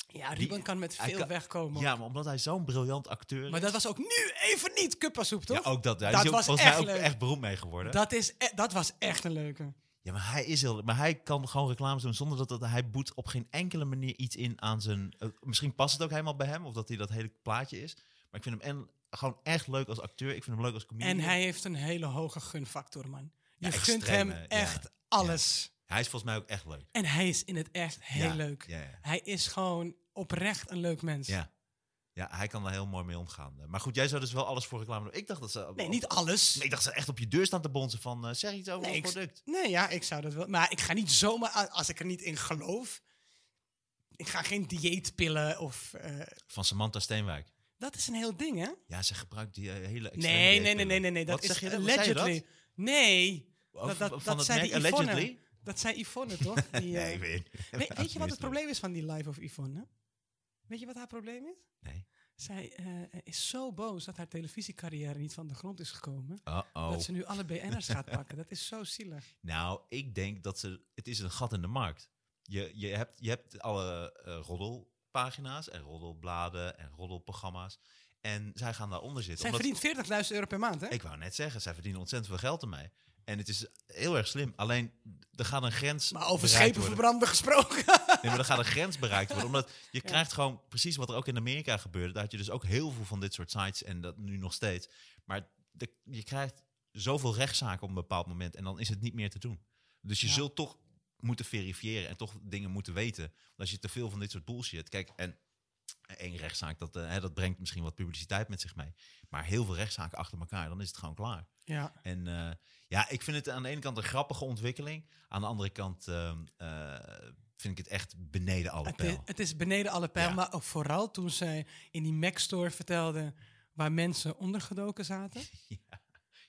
[SPEAKER 2] Ja, Ruben
[SPEAKER 3] Die-
[SPEAKER 2] kan met
[SPEAKER 3] hij
[SPEAKER 2] veel
[SPEAKER 3] kan-
[SPEAKER 2] wegkomen.
[SPEAKER 3] Ja, maar omdat hij zo'n briljant acteur
[SPEAKER 2] Maar
[SPEAKER 3] is.
[SPEAKER 2] dat was ook nu even niet kuppasoep, toch?
[SPEAKER 3] Ja, ook dat. Hij
[SPEAKER 2] Dat
[SPEAKER 3] is ook,
[SPEAKER 2] was
[SPEAKER 3] volgens mij
[SPEAKER 2] echt
[SPEAKER 3] ook
[SPEAKER 2] leuk.
[SPEAKER 3] echt beroemd mee geworden.
[SPEAKER 2] dat, is e- dat was echt een leuke.
[SPEAKER 3] Ja, maar hij is heel... Maar hij kan gewoon reclames doen zonder dat, dat hij boet op geen enkele manier iets in aan zijn... eh, misschien past het ook helemaal bij hem, of dat hij dat hele plaatje is. Maar ik vind hem en, gewoon echt leuk als acteur. Ik vind hem leuk als comedian.
[SPEAKER 2] En hij heeft een hele hoge gunfactor, man. Je
[SPEAKER 3] Ja,
[SPEAKER 2] gunt
[SPEAKER 3] extreem,
[SPEAKER 2] hem
[SPEAKER 3] hè? Ja.
[SPEAKER 2] echt alles.
[SPEAKER 3] Hij is volgens mij ook echt leuk.
[SPEAKER 2] En hij is in het echt heel
[SPEAKER 3] Ja,
[SPEAKER 2] leuk.
[SPEAKER 3] Ja, ja.
[SPEAKER 2] Hij is gewoon oprecht een leuk mens.
[SPEAKER 3] ja. Ja, hij kan daar heel mooi mee omgaan. Maar goed, jij zou dus wel alles voor reclame doen. Ik dacht dat ze...
[SPEAKER 2] Nee, niet alles.
[SPEAKER 3] Nee, ik dacht ze echt op je deur staan te bonzen van... eh, zeg iets over
[SPEAKER 2] Nee,
[SPEAKER 3] ons
[SPEAKER 2] ik-
[SPEAKER 3] product.
[SPEAKER 2] Nee, ja, ik zou dat wel. Maar ik ga niet zomaar, a- als ik er niet in geloof. Ik ga geen dieetpillen of. eh,
[SPEAKER 3] Van Samantha Steenwijk.
[SPEAKER 2] dat is een heel ding, hè?
[SPEAKER 3] Ja, ze gebruikt die eh, hele extreme
[SPEAKER 2] Nee, nee, nee,
[SPEAKER 3] dieetpillen.
[SPEAKER 2] nee, nee, nee. Dat
[SPEAKER 3] Wat
[SPEAKER 2] is
[SPEAKER 3] zeg je dan? Wat zei je dat?
[SPEAKER 2] allegedly. Nee.
[SPEAKER 3] Oh,
[SPEAKER 2] Dat, dat,
[SPEAKER 3] van
[SPEAKER 2] dat
[SPEAKER 3] het
[SPEAKER 2] zei die
[SPEAKER 3] merk
[SPEAKER 2] Yvonne.
[SPEAKER 3] Allegedly?
[SPEAKER 2] Dat zei Yvonne, toch? Die, eh,
[SPEAKER 3] Nee, ik weet niet.
[SPEAKER 2] we- weet, je wat het
[SPEAKER 3] Alsjeblieft.
[SPEAKER 2] probleem is van die Live of Yvonne? Weet je wat haar probleem is?
[SPEAKER 3] Nee.
[SPEAKER 2] Zij eh, is zo boos dat haar televisiecarrière niet van de grond is gekomen.
[SPEAKER 3] Uh-oh.
[SPEAKER 2] Dat ze nu alle BN'ers gaat pakken. Dat is zo zielig.
[SPEAKER 3] Nou, ik denk dat ze... Het is een gat in de markt. Je, je, hebt, je hebt alle eh, roddelpagina's en roddelbladen en roddelprogramma's. En zij gaan daaronder zitten.
[SPEAKER 2] Zij
[SPEAKER 3] omdat-
[SPEAKER 2] verdient 40.000 euro per maand, hè?
[SPEAKER 3] Ik wou net zeggen, zij verdienen ontzettend veel geld ermee. En het is heel erg slim. Alleen, er gaat een grens
[SPEAKER 2] maar over
[SPEAKER 3] bereikt
[SPEAKER 2] schepen
[SPEAKER 3] worden.
[SPEAKER 2] verbranden gesproken.
[SPEAKER 3] Nee, maar dan gaat een grens bereikt worden. Omdat je krijgt gewoon precies wat er ook in Amerika gebeurde. Daar had je dus ook heel veel van dit soort sites en dat nu nog steeds. Maar de- je krijgt zoveel rechtszaken op een bepaald moment en dan is het niet meer te doen. Dus je
[SPEAKER 2] Ja.
[SPEAKER 3] zult toch moeten verifiëren en toch dingen moeten weten. Want als je te veel van dit soort bullshit... Kijk, en één rechtszaak, dat, eh, hè, dat brengt misschien wat publiciteit met zich mee. Maar heel veel rechtszaken achter elkaar, dan is het gewoon klaar.
[SPEAKER 2] Ja.
[SPEAKER 3] En eh, ja, ik vind het aan de ene kant een grappige ontwikkeling. Aan de andere kant ehm, eh, vind ik het echt beneden alle
[SPEAKER 2] Het is,
[SPEAKER 3] pijl.
[SPEAKER 2] het is beneden alle pijl,
[SPEAKER 3] Ja.
[SPEAKER 2] maar ook vooral toen zij in die Mac Store vertelde waar mensen ondergedoken zaten.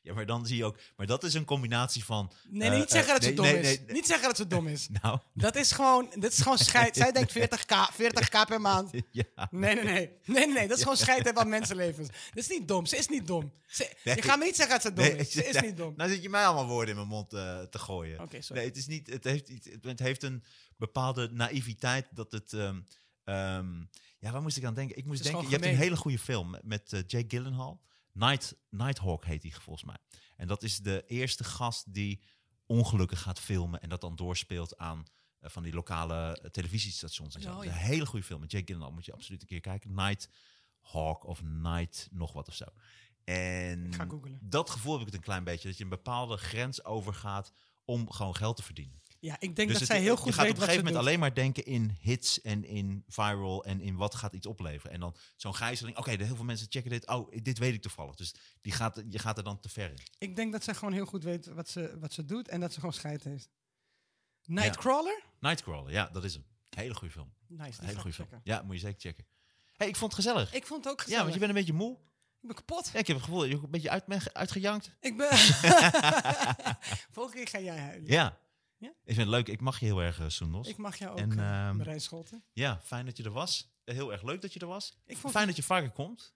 [SPEAKER 3] Ja, maar dan zie je ook... Maar dat is een combinatie van...
[SPEAKER 2] Nee,
[SPEAKER 3] eh,
[SPEAKER 2] niet zeggen
[SPEAKER 3] eh,
[SPEAKER 2] dat ze
[SPEAKER 3] nee,
[SPEAKER 2] dom
[SPEAKER 3] nee,
[SPEAKER 2] is.
[SPEAKER 3] nee, nee.
[SPEAKER 2] Niet zeggen dat ze dom is.
[SPEAKER 3] Nou,
[SPEAKER 2] Dat is gewoon, dat is gewoon scheid. Zij denkt 40k, 40k per maand.
[SPEAKER 3] ja.
[SPEAKER 2] Nee, nee, nee. Nee, nee, nee. Dat is gewoon scheid hebben aan mensenlevens. Dat is niet dom. Ze is niet dom. Ze-
[SPEAKER 3] Nee.
[SPEAKER 2] Je gaat me niet zeggen dat ze dom
[SPEAKER 3] Nee,
[SPEAKER 2] is. Ze is
[SPEAKER 3] nou,
[SPEAKER 2] niet dom.
[SPEAKER 3] Nou zit je mij allemaal woorden in mijn mond eh, te gooien.
[SPEAKER 2] Oké, sorry.
[SPEAKER 3] Nee, het, is niet, het, heeft, iets- het heeft een bepaalde naïviteit dat het... ehm, ehm, ja, waar moest ik aan denken? Ik moest
[SPEAKER 2] Het is gewoon
[SPEAKER 3] denken, je hebt een
[SPEAKER 2] gemeen.
[SPEAKER 3] hele goede film met eh, Jake Gyllenhaal. Night, Nighthawk heet die volgens mij. En dat is de eerste gast die ongelukken gaat filmen... en dat dan doorspeelt aan eh, van die lokale eh, televisiestations. En zo.
[SPEAKER 2] Oh,
[SPEAKER 3] Dat is
[SPEAKER 2] ja.
[SPEAKER 3] Een hele goede film met Jake Gyllenhaal. Moet je absoluut een keer kijken. Nighthawk of Night nog wat of zo. En
[SPEAKER 2] Ik ga googlen.
[SPEAKER 3] dat gevoel heb ik het een klein beetje. Dat je een bepaalde grens overgaat om gewoon geld te verdienen.
[SPEAKER 2] Ja, ik denk dat
[SPEAKER 3] Dus het-
[SPEAKER 2] zij heel goed
[SPEAKER 3] je gaat
[SPEAKER 2] weet
[SPEAKER 3] op een
[SPEAKER 2] wat ze
[SPEAKER 3] gegeven
[SPEAKER 2] doet.
[SPEAKER 3] moment alleen maar denken in hits en in viral en in wat gaat iets opleveren. En dan zo'n gijzeling. Oké, de heel veel mensen checken dit. Oh, dit weet ik toevallig. Dus die gaat, je gaat er dan te ver in.
[SPEAKER 2] Ik denk dat zij gewoon heel goed weet wat ze, wat ze doet en dat ze gewoon scheid heeft. Nightcrawler?
[SPEAKER 3] Nightcrawler, ja, dat is hem. Hele goede film.
[SPEAKER 2] Nice. die
[SPEAKER 3] Hele
[SPEAKER 2] ga
[SPEAKER 3] goede
[SPEAKER 2] ik
[SPEAKER 3] film.
[SPEAKER 2] checken.
[SPEAKER 3] Ja, moet je zeker checken. hey, ik vond het gezellig.
[SPEAKER 2] Ik vond het ook
[SPEAKER 3] Ja,
[SPEAKER 2] gezellig.
[SPEAKER 3] want je bent een beetje moe.
[SPEAKER 2] Ik ben kapot.
[SPEAKER 3] Ja, ik heb het gevoel dat je ook een beetje uit bent ge- uitgejankt.
[SPEAKER 2] Ik ben... Volgende keer ga jij huilen.
[SPEAKER 3] Ja.
[SPEAKER 2] Ja?
[SPEAKER 3] Ik vind het leuk. Ik mag je heel erg, eh, Soendos.
[SPEAKER 2] Ik mag jou ook,
[SPEAKER 3] En,
[SPEAKER 2] en,
[SPEAKER 3] ehm,
[SPEAKER 2] Marijn Scholten.
[SPEAKER 3] Ja, fijn dat je er was. Eh, Heel erg leuk dat je er was.
[SPEAKER 2] Ik vond-
[SPEAKER 3] Fijn dat je vaker komt.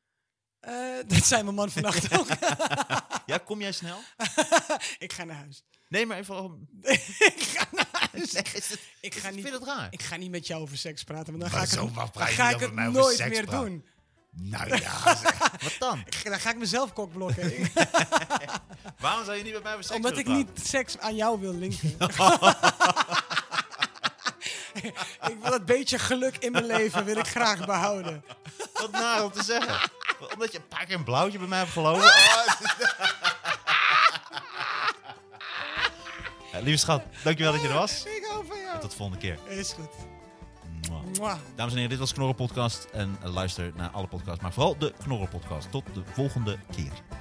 [SPEAKER 2] Eh, dat zei mijn man vannacht ook.
[SPEAKER 3] Ja, kom jij snel?
[SPEAKER 2] ik ga naar huis.
[SPEAKER 3] Nee, maar even... om-
[SPEAKER 2] ik ga naar
[SPEAKER 3] Is
[SPEAKER 2] huis.
[SPEAKER 3] het- is het-
[SPEAKER 2] Ik ga
[SPEAKER 3] vind
[SPEAKER 2] niet...
[SPEAKER 3] je dat raar?
[SPEAKER 2] Ik ga niet met jou over seks praten, want dan ga
[SPEAKER 3] Maar
[SPEAKER 2] ik het,
[SPEAKER 3] zo, waar
[SPEAKER 2] dan
[SPEAKER 3] praat je
[SPEAKER 2] ga
[SPEAKER 3] niet
[SPEAKER 2] ik
[SPEAKER 3] over
[SPEAKER 2] het
[SPEAKER 3] mij over
[SPEAKER 2] nooit
[SPEAKER 3] seks
[SPEAKER 2] meer
[SPEAKER 3] praten?
[SPEAKER 2] doen.
[SPEAKER 3] Nou ja, zeg. Wat dan?
[SPEAKER 2] Ik- Dan ga ik mezelf kokblokken. Ik-
[SPEAKER 3] Waarom zou je niet met mij over seks
[SPEAKER 2] Omdat ik
[SPEAKER 3] willen
[SPEAKER 2] niet seks aan jou wil linken. ik wil dat beetje geluk in mijn leven wil ik graag behouden.
[SPEAKER 3] praten? Wat naar om te zeggen. Omdat je een paar keer een blauwtje bij mij hebt gelopen. Oh, het is- Eh, lieve schat, dankjewel dat je er was.
[SPEAKER 2] Ik hou van jou.
[SPEAKER 3] Tot de volgende keer.
[SPEAKER 2] Is goed.
[SPEAKER 3] Mwah.
[SPEAKER 2] Mwah.
[SPEAKER 3] Dames en heren, dit was Knorren Podcast. En eh, luister naar alle podcasts, maar vooral de Knorren Podcast. Tot de volgende keer.